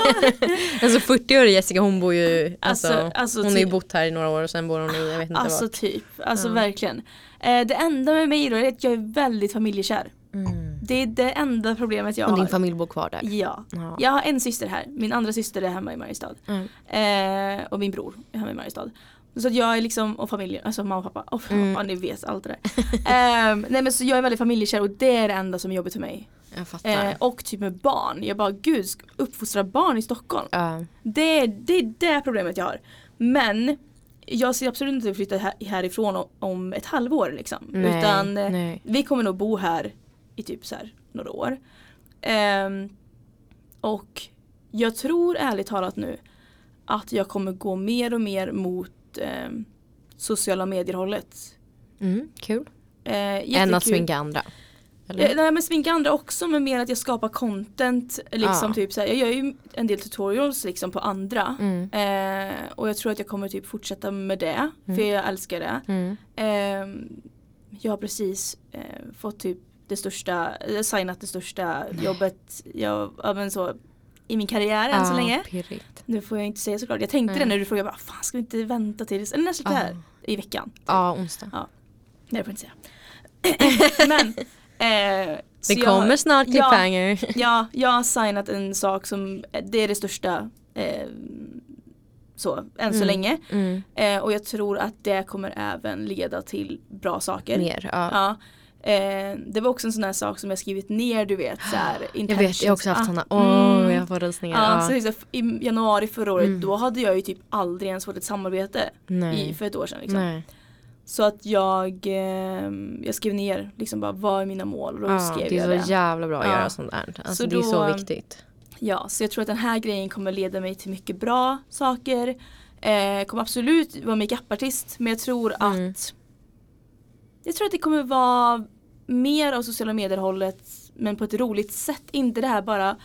S1: Alltså 40-åriga Jessica hon bor ju, alltså,
S2: Alltså- alltså
S1: hon har ju
S2: ty-
S1: bott här i några år och sen bor hon i, jag vet inte
S2: Alltså
S1: vart.
S2: typ, alltså
S1: Ja.
S2: verkligen. Eh, det enda med mig då är att jag är väldigt familjekär.
S1: Mm.
S2: Det är det enda problemet jag
S1: Och din
S2: har.
S1: familj bor kvar där?
S2: Ja.
S1: Ja.
S2: Jag har en syster här, min andra syster är hemma i Mariestad.
S1: Mm.
S2: Eh, och min bror är hemma i Mariestad. Så att jag är liksom, och familjen, alltså mamma och pappa, och
S1: Mm.
S2: ja, ni vet allt det där. eh, nej men så jag är väldigt familjekär och det är det enda som är jobbigt för mig.
S1: Jag fattar.
S2: Eh, och typ med barn, jag bara gud, ska uppfostra barn i Stockholm.
S1: Ja.
S2: Det är det, är det problemet jag har. Men jag ser absolut inte att flytta här- härifrån o- om ett halvår liksom.
S1: Nej,
S2: Utan eh,
S1: nej.
S2: vi kommer nog bo här i typ så här några år. Ehm, och jag tror ärligt talat nu att jag kommer gå mer och mer mot ehm, sociala medier-hållet.
S1: Mm, kul.
S2: Eh,
S1: Än att
S2: jättekul.
S1: sminka andra. Eller?
S2: Eh, Nej men sminka andra också men mer att jag skapar content. Liksom,
S1: Ja.
S2: typ, så här, jag gör ju en del tutorials liksom, på andra.
S1: Ah. Mm.
S2: Eh, och jag tror att jag kommer typ fortsätta med det. För jag älskar det.
S1: Mm.
S2: Eh, jag har precis eh, fått typ det största, eh, signat det största jobbet jag, ja, men så, i min karriär än så
S1: Ja,
S2: länge.
S1: Ah,
S2: Typ
S1: Pirrigt.
S2: Nu får jag inte säga såklart. Jag tänkte
S1: Nej.
S2: det när du frågade, bara, fan ska vi inte vänta tills, eller när släpps det här? I veckan.
S1: Ja, Ah. onsdag.
S2: Nej det får jag inte
S1: *laughs*
S2: säga. men. Eh, så
S1: Det
S2: jag-
S1: kommer snart
S2: ja.
S1: cliffhanger.
S2: Ja, jag har signat en sak som det är det största eh, så, än så
S1: Mm.
S2: länge.
S1: Mm.
S2: Eh, och jag tror att det kommer även leda till bra saker.
S1: Mer, ja.
S2: Ja. Eh, det var också en sån här sak som jag skrivit ner, du vet. Så här,
S1: *gasps* Jag vet, jag har också haft
S2: intentions.
S1: sådana.
S2: Ah,
S1: Åh,
S2: mm.
S1: jag får rysningar.
S2: Ja,
S1: Ja. Mm.
S2: så just, det, I januari förra året då hade jag ju typ aldrig ens fått ett samarbete
S1: Nej.
S2: i, för ett år sedan. Liksom.
S1: Nej.
S2: Så att jag, eh, jag skrev ner liksom bara, vad är mina mål och då
S1: Ja,
S2: skrev
S1: det
S2: jag
S1: är så
S2: det.
S1: jävla bra att
S2: Ja.
S1: göra sånt där. Alltså,
S2: Så
S1: det är så
S2: då-
S1: viktigt.
S2: Ja, så jag tror att den här grejen kommer leda mig till mycket bra saker. Eh, kommer absolut vara makeupartist men jag tror
S1: Mm.
S2: att jag tror att det kommer vara mer av sociala medier-hållet men på ett roligt sätt. Inte det här bara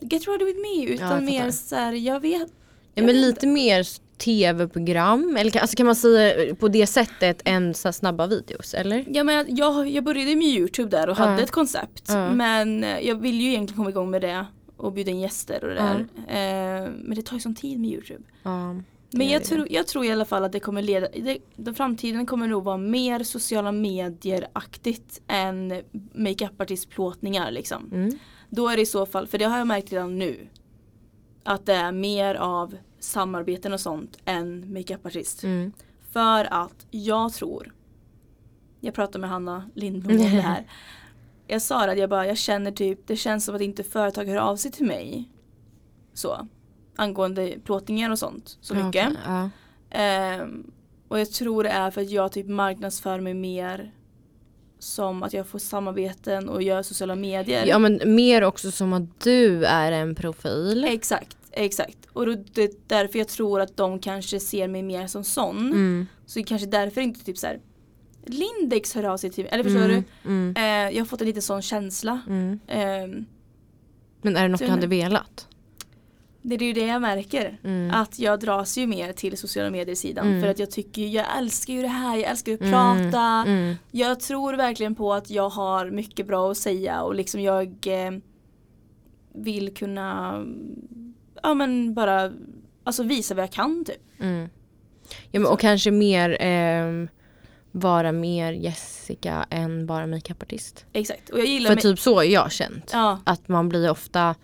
S2: get ready with me
S1: jag
S2: utan
S1: fattar.
S2: mer så här, jag vet.
S1: Ja,
S2: jag vet
S1: men
S2: inte.
S1: lite mer tv-program, eller kan- alltså kan man säga på det sättet än så här snabba videos eller?
S2: Ja, men jag- jag, jag började med Youtube där och
S1: Ja.
S2: hade ett koncept.
S1: Ja.
S2: Men eh, jag vill ju egentligen komma igång med det och bjuda in gäster och det där. Eh, men det tar ju sån tid med Youtube.
S1: Ja.
S2: Men
S1: Det
S2: jag
S1: är
S2: tror, jag tror i alla fall att det kommer leda, det, den framtiden kommer nog vara mer sociala medier-aktigt än makeupartistplåtningar liksom.
S1: Mm.
S2: Då är det i så fall, för det har jag märkt redan nu, att det är mer av samarbeten och sånt än makeupartist.
S1: Mm.
S2: För att jag tror, jag pratade med Hanna Lindblom om det här.
S1: *laughs*
S2: Jag sa det att jag bara, jag känner typ, det känns som att inte företag hör av sig till mig. Så. Angående plåtningar och sånt så
S1: Ja,
S2: mycket.
S1: okej. Ja.
S2: Ehm, och jag tror det är för att jag typ marknadsför mig mer som att jag får samarbeten och gör sociala medier.
S1: ja men mer också som att du är en profil.
S2: Exakt, Exakt. Och då, det är därför jag tror att de kanske ser mig mer som sån.
S1: Mm.
S2: Så det är kanske därför inte typ så här. Lindex hör av sig till mig. Eller förstår
S1: Mm.
S2: du?
S1: Mm.
S2: Eh, jag har fått en liten sån känsla.
S1: Mm.
S2: Eh,
S1: Men är det något du
S2: Sen-
S1: hade velat?
S2: det är ju det jag märker.
S1: Mm.
S2: Att jag dras ju mer till sociala medier-sidan.
S1: Mm.
S2: För att jag tycker ju, jag älskar ju det här, jag älskar ju att
S1: Mm.
S2: prata.
S1: Mm.
S2: Jag tror verkligen på att jag har mycket bra att säga och liksom jag eh, vill kunna ja men bara alltså visa vad jag kan typ.
S1: Mm. Ja, men, och kanske mer ehm, vara mer Jessica än bara makeupartist.
S2: Exakt och jag gillar
S1: För
S2: mig-
S1: typ så är jag känt.
S2: Ja
S1: Att man blir ofta,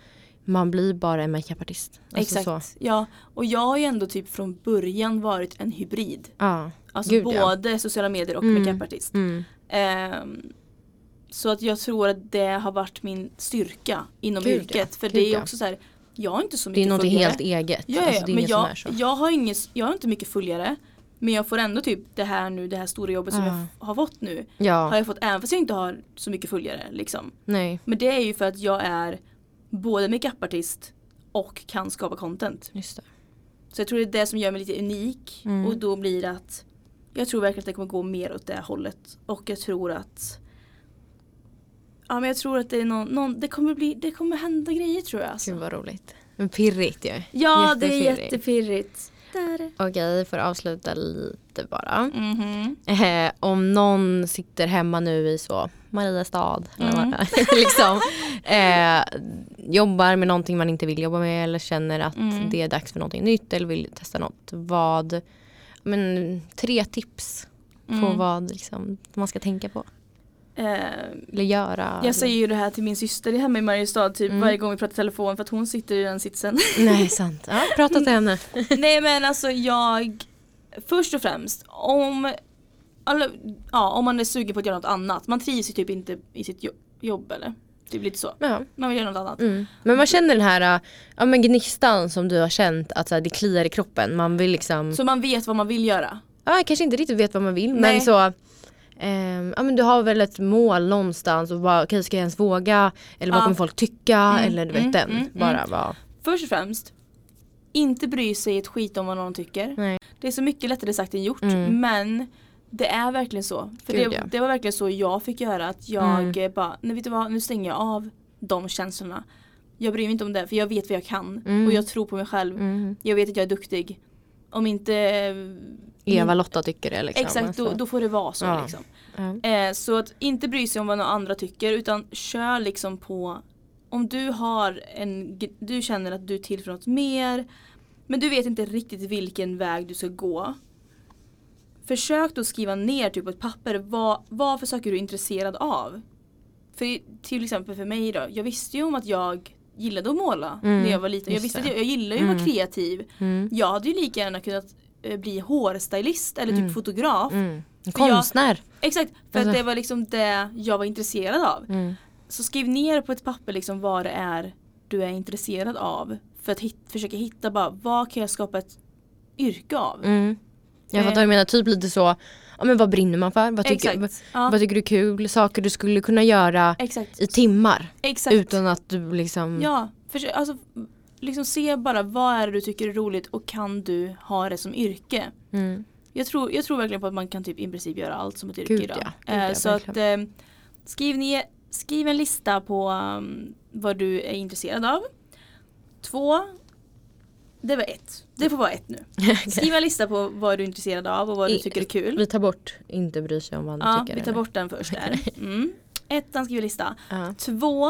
S1: man blir bara en makeupartist. Alltså
S2: exakt.
S1: Så.
S2: Ja och jag har ju ändå typ från början varit en hybrid.
S1: Ja.
S2: Alltså
S1: Gud, ja.
S2: både sociala medier och
S1: Mm.
S2: makeupartist.
S1: Mm.
S2: Ehm, så att jag tror att det har varit min styrka inom
S1: Gud, ja.
S2: yrket. För
S1: Gud,
S2: det är
S1: ja.
S2: också så här, jag har inte så mycket
S1: Det är något
S2: följare.
S1: helt eget.
S2: Ja, ja,
S1: alltså, det är
S2: men
S1: inget
S2: jag,
S1: som är så.
S2: jag, har inget, jag har inte mycket följare. Men jag får ändå typ det här nu, det här stora jobbet som
S1: Ja.
S2: jag f- har fått nu. Har
S1: ja,
S2: jag fått även fast jag inte har så mycket följare liksom.
S1: nej.
S2: Men det är ju för att jag är både makeupartist och kan skapa content.
S1: Just det.
S2: Så jag tror det är det som gör mig lite unik.
S1: Mm.
S2: Och då blir det att jag tror verkligen att det kommer gå mer åt det hållet. Och jag tror att Ja men jag tror att det är någon, någon det, kommer bli, det kommer hända grejer tror jag.
S1: Gud
S2: Alltså.
S1: vad roligt. Men pirrigt ju.
S2: Ja det är
S1: Jättepirrigt.
S2: jättepirrigt. Där.
S1: Okej, för att avsluta lite bara.
S2: Mhm.
S1: Eh, om någon sitter hemma nu i så Mariestad eller
S2: Mm.
S1: vad *laughs* det är, liksom, eh, jobbar med någonting man inte vill jobba med eller känner att
S2: Mm.
S1: det är dags för någonting nytt eller vill testa något. Vad, men, tre tips på
S2: Mm.
S1: vad liksom, man ska tänka på
S2: Eh,
S1: eller göra.
S2: jag säger ju det här till min syster hemma i Mariestad typ
S1: Mm.
S2: varje gång vi pratar telefon för att hon sitter i
S1: *laughs*
S2: den sitsen. *laughs*
S1: eller, Nej sant, ja, prata till henne.
S2: Nej men alltså jag, först och främst om, eller, ja, om man är sugen på att göra något annat, man trivs ju typ inte i sitt jo- jobb eller? Typ lite så.
S1: Ja.
S2: Man vill göra något annat.
S1: Mm. Men man känner den här äh, ja, men gnistan som du har känt att så här, det kliar i kroppen. Man vill liksom,
S2: Så man vet vad man vill göra.
S1: ja, jag kanske inte riktigt vet vad man vill
S2: Nej.
S1: men så ehm, ja, men du har väl ett mål någonstans och bara okej ska jag ens våga eller vad
S2: Ja.
S1: kommer folk tycka
S2: Mm,
S1: eller du vet
S2: mm,
S1: den.
S2: mm,
S1: bara vara,
S2: Först och främst, inte bry sig ett skit om vad någon tycker.
S1: nej.
S2: Det är så mycket lättare sagt än gjort
S1: Mm.
S2: men det är verkligen så. För
S1: Gud,
S2: det,
S1: ja.
S2: det var verkligen så jag fick göra att jag
S1: Mm.
S2: eh, bara, nej vet du vad, nu stänger jag av de känslorna. Jag bryr mig inte om det för jag vet vad jag kan
S1: Mm.
S2: och jag tror på mig själv.
S1: Mm.
S2: Jag vet att jag är duktig. Om inte Mm.
S1: Eva-Lotta tycker det liksom.
S2: exakt då,
S1: alltså.
S2: då får det vara så.
S1: Ja.
S2: Liksom.
S1: Ja.
S2: Eh, så att inte bry sig om vad några andra tycker utan kör liksom på om du har en, gr- du känner att du är till för något mer men du vet inte riktigt vilken väg du ska gå. Försök då skriva ner typ på ett papper vad, vad för saker du är intresserad av. För i- till exempel för mig då, jag visste ju om att jag gillade att måla
S1: Mm,
S2: när jag var liten. Jag
S1: just
S2: visste att
S1: det.
S2: jag, jag gillade ju att vara
S1: Mm.
S2: kreativ.
S1: Mm.
S2: Jag hade ju lika gärna kunnat eh, bli hårstylist eller typ
S1: Mm.
S2: fotograf.
S1: Mm.
S2: jag-
S1: Konstnär.
S2: Exakt, för att
S1: Alltså-
S2: det var liksom det jag var intresserad av.
S1: Mm.
S2: Så skriv ner på ett papper liksom vad det är du är intresserad av. För att hit, försöka hitta bara, vad kan jag skapa ett yrke av?
S1: Mm. Jag
S2: Eh.
S1: fattar vad du menar, typ lite så, ja, men vad brinner man för? Vad tycker, vad,
S2: exakt. Ja,
S1: vad tycker du är kul? Saker du skulle kunna göra
S2: exakt.
S1: i timmar.
S2: Exakt.
S1: Utan att du liksom...
S2: Ja, försök, alltså, liksom se bara vad är det du tycker är roligt och kan du ha det som yrke?
S1: Mm.
S2: Jag tror, jag tror verkligen på att man kan typ i princip göra allt som ett yrke
S1: Gud,
S2: idag.
S1: ja. Gud,
S2: Eh,
S1: ja,
S2: så att eh, skriv, ner, skriv en lista på um, vad du är intresserad av. Två, det var ett. Det får vara
S1: *laughs*
S2: ett nu. Skriv en lista på vad du är intresserad av och vad du
S1: I-
S2: tycker är kul.
S1: Vi tar bort inte bry sig om vad andra
S2: Ja,
S1: tycker.
S2: vi tar
S1: eller?
S2: bort den först där. Mm. Ettan skriver lista.
S1: Ja.
S2: Två,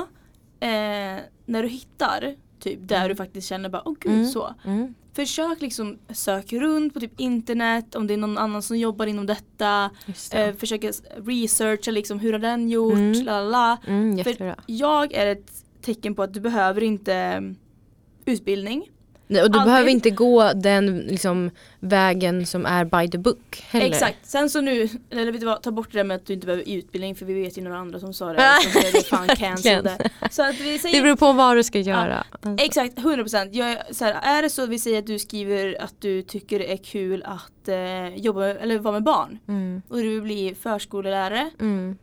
S2: eh, när du hittar typ där du faktiskt känner bara åh gud
S1: Mm.
S2: så.
S1: Mm.
S2: Försök liksom sök runt på typ internet om det är någon annan som jobbar inom detta.
S1: Just det.
S2: Eh, försöka s- researcha liksom hur har den gjort,
S1: Mm.
S2: la la, la.
S1: mm,
S2: för-
S1: jättebra.
S2: Jag är ett tecken på att du behöver inte mm, utbildning.
S1: Nej, och du
S2: aldrig-
S1: behöver inte gå den liksom, vägen som är by the book heller.
S2: Exakt, sen så nu, eller vet du vad, ta bort det där med att du inte behöver utbildning för vi vet ju några andra som sa det.
S1: *laughs*
S2: som blev fan cancelled. där. Så att vi
S1: Det
S2: säger
S1: beror på vad du ska göra. Alltså,
S2: Exakt, 100%. Jag är, så här, är det så att vi säger att du skriver att du tycker det är kul att eh, jobba eller vara med barn
S1: Mm.
S2: och du vill bli förskollärare
S1: Mm.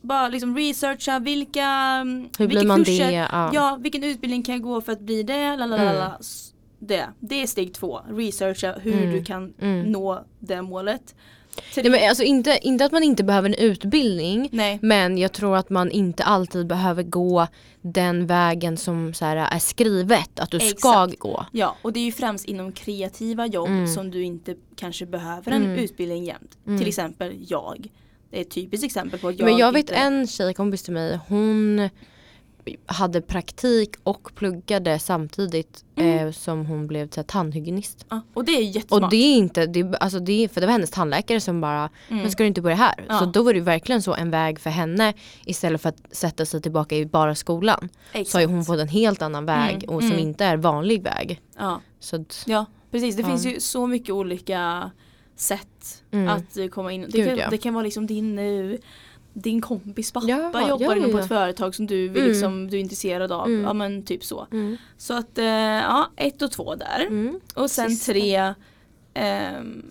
S2: bara liksom researcha vilka, mm,
S1: Hur
S2: vilka
S1: blir man
S2: kurser,
S1: det? Ja.
S2: ja vilken utbildning kan jag gå för att bli det, lalalala.
S1: Mm.
S2: S- Det, det är steg två, researcha hur
S1: Mm.
S2: du kan
S1: Mm.
S2: nå det målet.
S1: Nej, men alltså inte, inte att man inte behöver en utbildning
S2: Nej,
S1: men jag tror att man inte alltid behöver gå den vägen som så här, är skrivet att du ska
S2: Exakt.
S1: gå.
S2: ja och det är ju främst inom kreativa jobb
S1: Mm.
S2: som du inte kanske behöver en utbildning jämt. Till exempel jag. Det är ett typiskt exempel på att jag
S1: men jag vet
S2: inte,
S1: en tjejkompis till mig, hon hade praktik och pluggade samtidigt
S2: Mm.
S1: eh, som hon blev så här, tandhygienist.
S2: Ja, och det är
S1: Och
S2: jättesmart.
S1: det är inte, det, är- alltså det, är- för det var hennes tandläkare som bara, men ska du inte börja här? Så
S2: Mm. Ja.
S1: då var det ju verkligen så en väg för henne istället för att sätta sig tillbaka i bara skolan. Så har ju hon fått en helt annan väg
S2: Mm,
S1: och som
S2: mm.
S1: inte är vanlig väg.
S2: ja.
S1: Så att,
S2: Ja, precis. Det
S1: typ. Ja.
S2: finns ju så mycket olika sätt
S1: Mm.
S2: att eh, komma in. Det,
S1: Gud,
S2: kan,
S1: ja.
S2: det kan vara liksom din, eh, din kompis pappa
S1: Ja,
S2: jobbar
S1: ja,
S2: inom på
S1: ja.
S2: ett företag som du, vill
S1: Mm.
S2: liksom, du är intresserad av. Ja men typ så.
S1: mm.
S2: Så att eh, ja, ett och två där.
S1: Mm.
S2: Och sen
S1: Sista.
S2: tre ehm,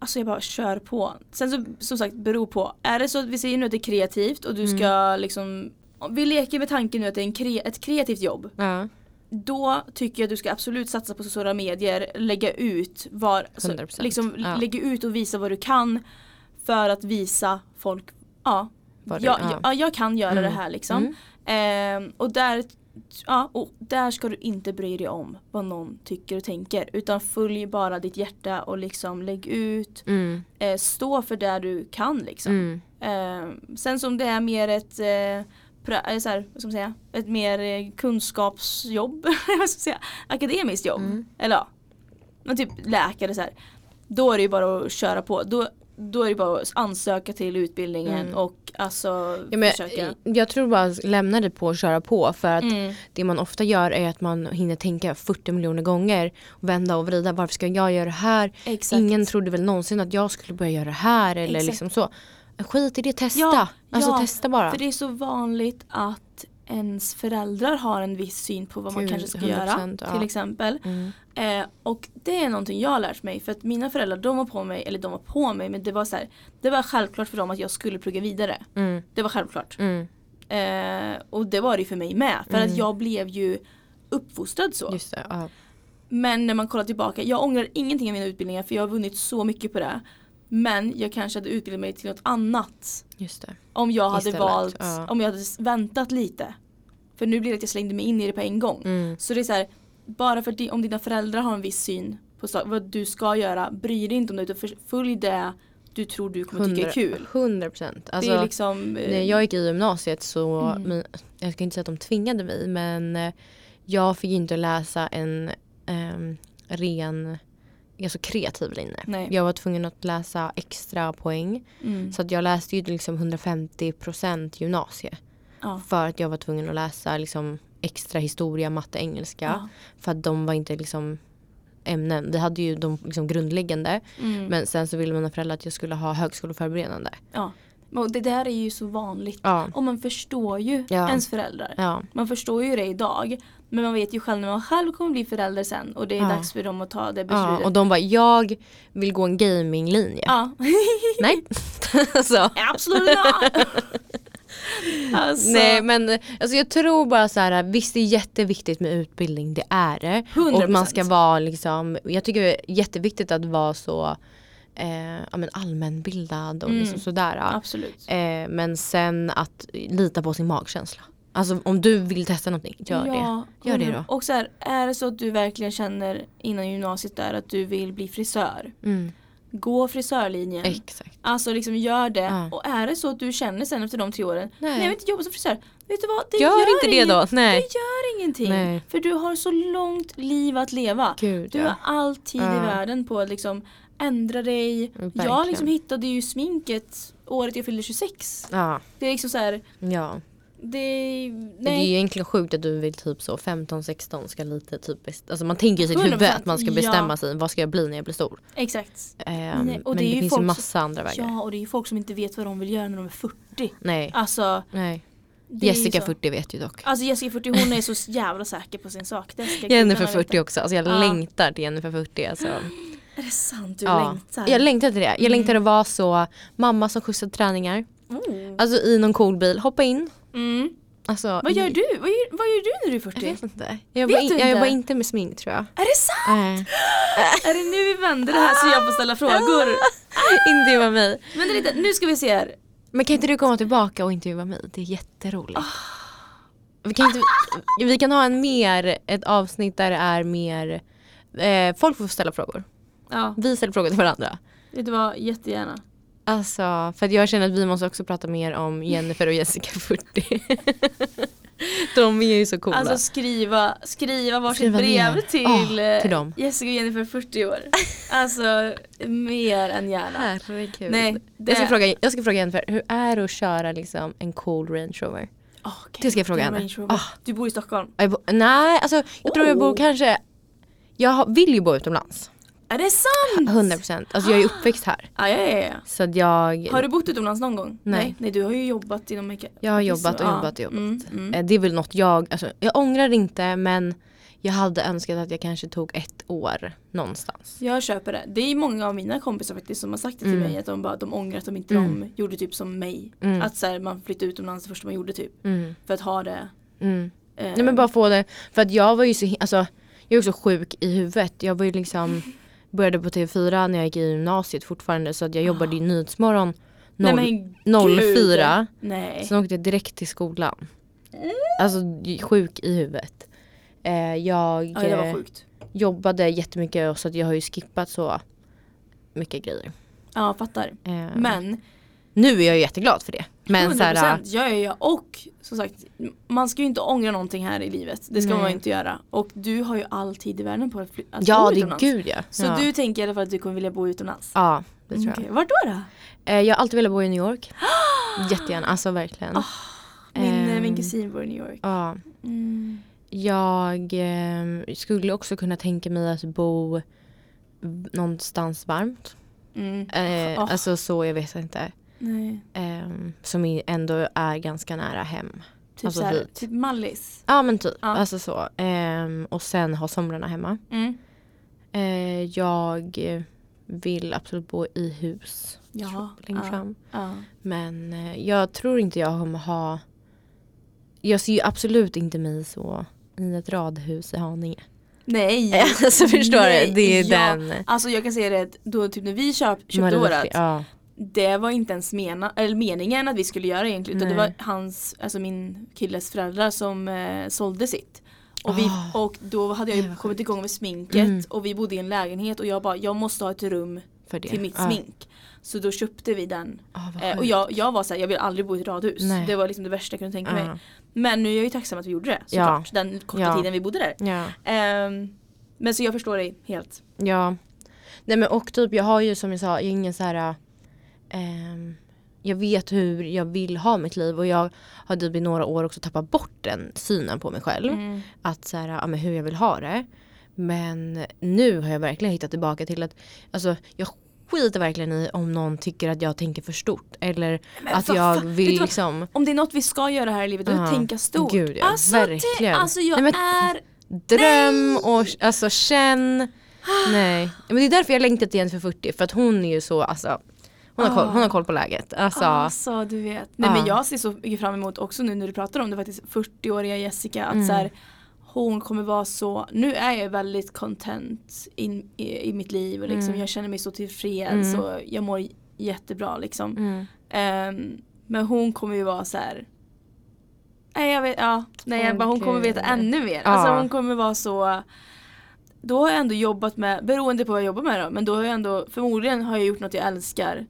S2: Alltså jag bara kör på. Sen så som sagt beror på. Är det så att vi säger nu att det är kreativt och du
S1: Mm.
S2: ska liksom Vi leker med tanken nu att det är en kre, ett kreativt jobb
S1: Ja,
S2: då tycker jag att du ska absolut satsa på sociala medier, lägga ut, var, alltså,
S1: 100%,
S2: liksom,
S1: ja.
S2: lägga ut och visa vad du kan för att visa folk, ja,
S1: Vad
S2: jag,
S1: du- ja.
S2: ja. ja jag kan göra
S1: Mm.
S2: det här liksom.
S1: Mm.
S2: Ehm, och, där, ja, och där ska du inte bry dig om vad någon tycker och tänker utan följ bara ditt hjärta och liksom lägg ut,
S1: mm.
S2: eh, stå för det du kan liksom.
S1: Mm.
S2: Eh, sen som det är mer ett, eh, pra, eh, så här, vad ska man säga, ett mer eh, kunskapsjobb, *laughs* vad ska man säga, akademiskt jobb.
S1: Mm.
S2: Eller ja, men typ läkare så här. Då är det ju bara att köra på. Då, då är det bara att ansöka till utbildningen och alltså
S1: Mm. Ja, men,
S2: försöka.
S1: jag tror bara att lämna det på att köra på för att
S2: Mm.
S1: det man ofta gör är att man hinner tänka 40 miljoner gånger och vända och vrida varför ska jag göra det här?
S2: Exakt.
S1: Ingen trodde väl någonsin att jag skulle börja göra det här eller
S2: Exakt.
S1: liksom så. Skit i det, testa.
S2: Ja,
S1: alltså
S2: ja,
S1: testa bara.
S2: För det är så vanligt att ens föräldrar har en viss syn på vad man
S1: Gud,
S2: kanske ska
S1: 100%,
S2: göra
S1: ja.
S2: till exempel.
S1: Mm.
S2: Eh, och det är någonting jag har lärt mig för att mina föräldrar de var på mig, eller de var på mig men det var så här, det var självklart för dem att jag skulle plugga vidare.
S1: Mm,
S2: Det var självklart.
S1: mm,
S2: Eh, och det var det ju för mig med för att jag blev ju uppfostrad så.
S1: just det. Ja.
S2: Men när man kollar tillbaka, jag ångrar ingenting av mina utbildningar för jag har vunnit så mycket på det. Men jag kanske hade utbildat mig till något annat
S1: Just det.
S2: om jag hade
S1: Istället,
S2: valt,
S1: ja.
S2: om jag hade s- väntat lite. För nu blir det att jag slängde mig in i det på en gång.
S1: Mm.
S2: Så det är så här, bara för att di- om dina föräldrar har en viss syn på sa- vad du ska göra, bry dig inte om det utan för- följ det du tror du kommer tycka är kul.
S1: 100 procent. Alltså,
S2: Det är liksom, eh, Mm.
S1: När jag gick i gymnasiet så, min, jag ska inte säga att de tvingade mig men eh, jag fick ju inte läsa en ehm, ren alltså kreativ linje.
S2: Nej.
S1: Jag var tvungen att läsa extra poäng.
S2: mm,
S1: Så att jag läste ju liksom 150% gymnasie.
S2: ja,
S1: För att jag var tvungen att läsa liksom extra historia, matte, engelska.
S2: Ja.
S1: För att de var inte liksom ämnen. Vi hade ju de liksom grundläggande.
S2: mm,
S1: Men sen så ville mina föräldrar att jag skulle ha högskoleförberedande.
S2: ja. Och det där är ju så vanligt.
S1: Ja.
S2: Och man förstår ju
S1: Ja.
S2: ens föräldrar.
S1: Ja.
S2: Man förstår ju det idag. Men man vet ju själv när man själv kommer bli förälder sen och det är
S1: Ja.
S2: dags för dem att ta det beslutet.
S1: Ja, och de bara, jag vill gå en gaminglinje.
S2: ja.
S1: *laughs*
S2: *laughs*
S1: Nej. *laughs* Alltså, så.
S2: Absolut
S1: *laughs*
S2: not! alltså,
S1: Nej men alltså jag tror bara så här, visst det är jätteviktigt med utbildning, det är det. Och man ska
S2: 100%.
S1: vara liksom, jag tycker det är jätteviktigt att vara så eh, ja, men allmänbildad och liksom sådär.
S2: absolut.
S1: Eh, men sen att lita på sin magkänsla. Alltså om du vill testa någonting, gör det. Gör det då.
S2: Och så här, är det så att du verkligen känner innan gymnasiet där att du vill bli frisör,
S1: Mm,
S2: gå frisörlinjen.
S1: exakt.
S2: Alltså liksom gör det.
S1: Ja.
S2: Och är det så att du känner sen efter de tre åren,
S1: Nej.
S2: nej, jag vill inte jobba som frisör. Vet du vad, det
S1: Gör, inte det
S2: ingen-
S1: då.
S2: Det
S1: Nej.
S2: gör ingenting.
S1: Nej.
S2: För du har så långt liv att leva.
S1: Gud
S2: Du
S1: ja.
S2: har all tid i
S1: Ja.
S2: världen på att liksom ändra dig.
S1: Verkligen.
S2: Jag liksom hittade ju sminket året jag fyllde 26.
S1: Ja.
S2: Det är liksom så här,
S1: ja.
S2: det är,
S1: Det är ju
S2: nej.
S1: egentligen sjukt att du vill typ så 15-16 ska lite typ best- alltså man tänker ju i sitt huvud
S2: 100%,
S1: att man ska
S2: ja.
S1: bestämma sig vad ska jag bli när jag blir stor.
S2: Exakt.
S1: Ehm,
S2: Nej, och
S1: men det,
S2: det är ju
S1: finns ju
S2: folk
S1: massa andra vägar.
S2: Ja och det är ju folk som inte vet vad de vill göra när de är 40.
S1: Nej.
S2: Alltså,
S1: Nej.
S2: det är ju
S1: Jessica
S2: så.
S1: 40 vet ju dock.
S2: Alltså Jessica 40 hon är så jävla säker på sin sak. Det ska
S1: Jennifer
S2: gudarna
S1: 40
S2: veta.
S1: också, alltså jag
S2: Ja.
S1: längtar till Jennifer 40. Alltså.
S2: Är det sant? *gasps* Du
S1: Ja.
S2: längtar? Mm.
S1: Jag längtar till det. Jag längtar att vara så mamma som skjutsar träningar.
S2: Oh.
S1: Alltså i någon cool bil, hoppa in.
S2: Mm.
S1: Alltså,
S2: Vad gör du? Vad gör, vad gör du när du är
S1: Jag
S2: 40?
S1: vet inte. Jag
S2: Vet
S1: jobbar, in,
S2: du
S1: jag jobbar
S2: inte?
S1: inte med smink tror jag.
S2: Är det sant?
S1: Nej.
S2: Är det nu vi vänder det här så jag får
S1: *laughs*
S2: ställa frågor?
S1: intervjua mig.
S2: Vänta lite, nu ska vi se här.
S1: Men kan inte du komma tillbaka och intervjua mig? Det är jätteroligt. Vi kan, inte, vi kan ha en mer, ett avsnitt där det är mer eh, Folk får ställa frågor.
S2: Ja,
S1: Vi ställer frågor till varandra.
S2: vet du vad? Jättegärna.
S1: Alltså, för att jag känner att vi måste också prata mer om Jennifer och Jessica 40. *laughs* De är ju så coola.
S2: Alltså skriva, skriva varsitt
S1: Skriva
S2: brev
S1: ner.
S2: till,
S1: Ah,
S2: eh,
S1: till dem.
S2: Jessica och Jennifer 40 år. Alltså mer än gärna.
S1: Herregud.
S2: Nej, det-
S1: jag, ska fråga, jag ska fråga Jennifer, hur är det att köra liksom, en cool Range Rover?
S2: Oh, okay.
S1: Det ska jag fråga henne. Ah.
S2: Du bor i Stockholm.
S1: Jag bo- nej, alltså jag tror jag
S2: Oh.
S1: bor kanske... Jag har- vill ju bo utomlands.
S2: Är det sant?
S1: 100%. Alltså jag är uppväxt här.
S2: Ah, ja, ja, ja.
S1: Så att jag...
S2: Har du bott utomlands någon gång?
S1: Nej.
S2: Nej, Nej, du har ju jobbat inom make-
S1: Jag har jobbat och
S2: Ja.
S1: jobbat och jobbat.
S2: Mm, mm.
S1: Eh, Det är väl något jag... Alltså, jag ångrar inte men jag hade önskat att jag kanske tog ett år någonstans.
S2: Jag köper det. Det är många av mina kompisar faktiskt som har sagt det till
S1: Mm.
S2: mig att de, bara, de ångrar att de inte
S1: Mm.
S2: de gjorde typ som mig.
S1: Mm.
S2: Att så här, man flyttade utomlands det första man gjorde typ.
S1: Mm.
S2: För att ha det.
S1: Mm.
S2: eh,
S1: Nej men bara få det. För att jag var ju så hi- alltså, jag är också sjuk i huvudet. Jag var ju liksom började på TV4 när jag gick i gymnasiet fortfarande så att jag jobbade i Nyhetsmorgon
S2: Ah. Nej,
S1: noll-
S2: men gud.
S1: 04.
S2: Nej.
S1: Sen åkte jag direkt till skolan.
S2: Mm.
S1: Alltså j- sjuk i huvudet. Eh, jag
S2: Ja, det var
S1: eh,
S2: sjukt.
S1: jobbade jättemycket så att jag har ju skippat så mycket grejer.
S2: Ja, fattar.
S1: Eh,
S2: Men
S1: Nu är jag ju jätteglad för det. Men
S2: 100%
S1: så här,
S2: ja, ja, ja. Och som sagt, man ska ju inte ångra någonting här i livet. Det ska
S1: Nej.
S2: man ju inte göra. Och du har ju all tid i världen på att, fly- att
S1: äh, ja
S2: bo
S1: det är
S2: utomlands.
S1: gud ja.
S2: Så
S1: ja.
S2: du tänker i alla fall att du kommer vilja bo utomlands?
S1: Ja, det tror jag.
S2: Okej, Vart då då?
S1: Eh, jag har alltid velat bo i New
S2: *gasps*
S1: York. Jättegärna, alltså verkligen.
S2: Ah, Min, eh,
S1: Ehm.
S2: min kusin bor i New York.
S1: Ja.
S2: Mm.
S1: Jag eh, skulle också kunna tänka mig att bo v- någonstans varmt.
S2: Mm.
S1: Eh,
S2: Ah.
S1: Alltså så, jag vet inte.
S2: Nej.
S1: Ehm, som i- ändå är ganska nära hem.
S2: Typ,
S1: Alltså
S2: såhär,
S1: hit.
S2: typ Mallis.
S1: Ja men typ,
S2: Ja.
S1: alltså så. Ehm, och sen ha somrarna hemma.
S2: Mm.
S1: Eh, jag eh, vill absolut bo i hus
S2: Ja.
S1: längre
S2: ja,
S1: fram.
S2: ja.
S1: Men eh, jag tror inte jag kommer ha... Jag ser ju absolut inte mig så i ett radhus i Haninge.
S2: Nej.
S1: *laughs* alltså förstår
S2: Nej,
S1: du? Det är
S2: ja.
S1: den...
S2: Alltså jag kan säga det, att då typ när vi köp, köpte
S1: Maria
S2: vårat
S1: Fre- Ja.
S2: det var inte ens mena, eller meningen att vi skulle göra egentligen utan det
S1: Nej.
S2: var hans, alltså min killes föräldrar som eh, sålde sitt. Och, vi,
S1: Ah.
S2: och då hade jag
S1: Nej,
S2: ju
S1: vad
S2: kommit igång med sminket
S1: Mm.
S2: och vi bodde i en lägenhet och jag bara jag måste ha ett rum
S1: För det.
S2: till mitt
S1: ja.
S2: smink. Så då köpte vi den.
S1: Ja, vad
S2: Eh, och
S1: sjukt.
S2: jag, jag var såhär, jag vill aldrig bo i ett radhus.
S1: Nej.
S2: Det var liksom det värsta jag kunde tänka
S1: Ja.
S2: mig. Men nu är jag ju tacksam att vi gjorde det såklart. Den korta
S1: Ja.
S2: tiden vi bodde där.
S1: Ja.
S2: Ehm, men så jag förstår dig helt.
S1: Ja. Nej men och typ jag har ju som jag sa, jag är ingen så här ehm, jag vet hur jag vill ha mitt liv och jag har typ i några år också tappat bort den synen på mig själv.
S2: Mm.
S1: Att så här, ja, men hur jag vill ha det. Men nu har jag verkligen hittat tillbaka till att alltså, jag skiter verkligen i om någon tycker att jag tänker för stort. Eller
S2: Men
S1: att
S2: vad
S1: jag
S2: fan,
S1: vill
S2: vet du vad?
S1: liksom.
S2: Om det är något vi ska göra här i livet, då är det
S1: Ja.
S2: att tänka stort.
S1: Gud, ja.
S2: alltså,
S1: Verkligen.
S2: Te- alltså jag
S1: Nej, men-
S2: är
S1: Dröm och alltså känn. Nej. Men det är därför jag längtat igen för 40 för att hon är ju så alltså hon har, koll, hon har koll på läget. Alltså,
S2: Alltså du vet. Nej men
S1: Ja.
S2: jag ser så mycket fram emot också nu när du pratar om det faktiskt 40-åriga Jessica
S1: Mm.
S2: att så här, hon kommer vara så, nu är jag väldigt content in, i, i mitt liv och liksom jag känner mig så tillfreds
S1: Mm.
S2: och jag mår jättebra liksom.
S1: mm.
S2: Ehm, men hon kommer ju vara så här. Nej jag vet, ja. Nej jag
S1: Åh,
S2: bara hon kommer
S1: gud.
S2: veta ännu mer.
S1: Ja.
S2: Alltså hon kommer vara så. Då har jag ändå jobbat med, beroende på vad jag jobbar med då, men då har jag ändå, förmodligen har jag gjort något jag älskar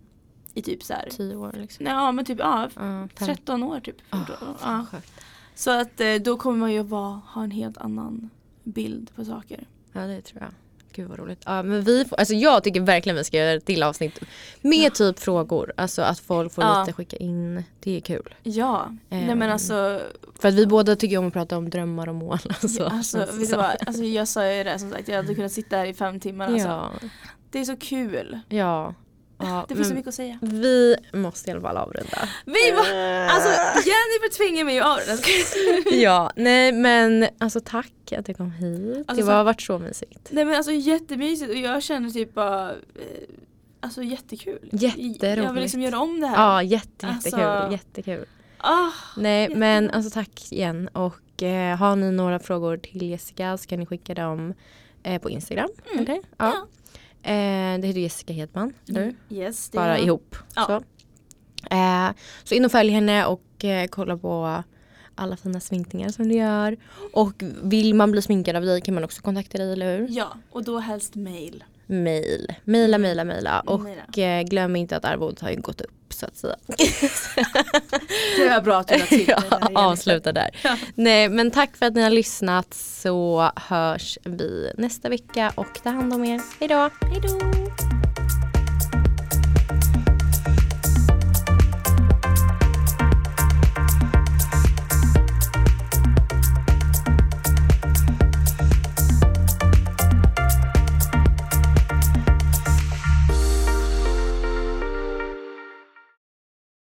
S2: i typ så här.
S1: Tio år liksom.
S2: Nej, ja men typ, ja.
S1: Ja, fem-
S2: 13 år typ.
S1: Ah,
S2: 14 år. Ja.
S1: fan, sjukt.
S2: Så att eh, då kommer man ju vara, ha en helt annan bild på saker.
S1: Ja det tror jag. Gud vad roligt. Ja, men vi får, alltså jag tycker verkligen vi ska göra ett till avsnitt med typ frågor. Alltså att folk får
S2: Ja.
S1: lite skicka in. Det är kul.
S2: Ja, nej men
S1: Ehm,
S2: alltså,
S1: För att vi båda tycker om att prata om drömmar och mål. *laughs* Alltså,
S2: alltså,
S1: känns det
S2: vet du
S1: som.
S2: vad, alltså jag sa ju det som sagt, jag hade kunnat sitta här i fem timmar alltså.
S1: Ja.
S2: Det är så kul.
S1: ja. ja
S2: Det finns så
S1: men
S2: mycket att säga.
S1: Vi måste i alla fall avrunda.
S2: Vi var,
S1: Eh.
S2: alltså Jennifer tvingar mig ju av den. *laughs*
S1: ja, nej men alltså tack att du kom hit.
S2: Alltså,
S1: det var,
S2: tack.
S1: varit så mysigt.
S2: Nej men alltså jättemysigt och jag känner typ bara eh, alltså jättekul.
S1: Jätteroligt.
S2: Jag vill liksom göra om det här.
S1: Ja, jätte,
S2: Alltså-
S1: jättekul. Jättekul.
S2: Ah,
S1: Nej,
S2: jättekul.
S1: men alltså tack igen. Och eh, har ni några frågor till Jessica så kan ni skicka dem eh, på Instagram.
S2: Mm.
S1: Eller? Ja. Eh, det heter Jessica Hedman. Du?
S2: Yes, Mm. det
S1: Bara
S2: är-
S1: ihop.
S2: Ja.
S1: Så. Eh, så in och följ henne och eh, kolla på alla fina sminkningar som du gör. Och vill man bli sminkad av dig kan man också kontakta dig, eller hur?
S2: Ja, och då helst mail.
S1: Mail. Maila, maila, maila.
S2: Mm,
S1: Och eh, glöm inte att arvodet har ju gått upp så att
S2: *laughs*
S1: säga.
S2: Det var bra
S1: *laughs*
S2: att du la till det där
S1: ja,
S2: igen.
S1: avsluta där.
S2: Ja.
S1: Nej men tack för att ni har lyssnat så hörs vi nästa vecka och ta hand om er. Hejdå!
S2: Hej då!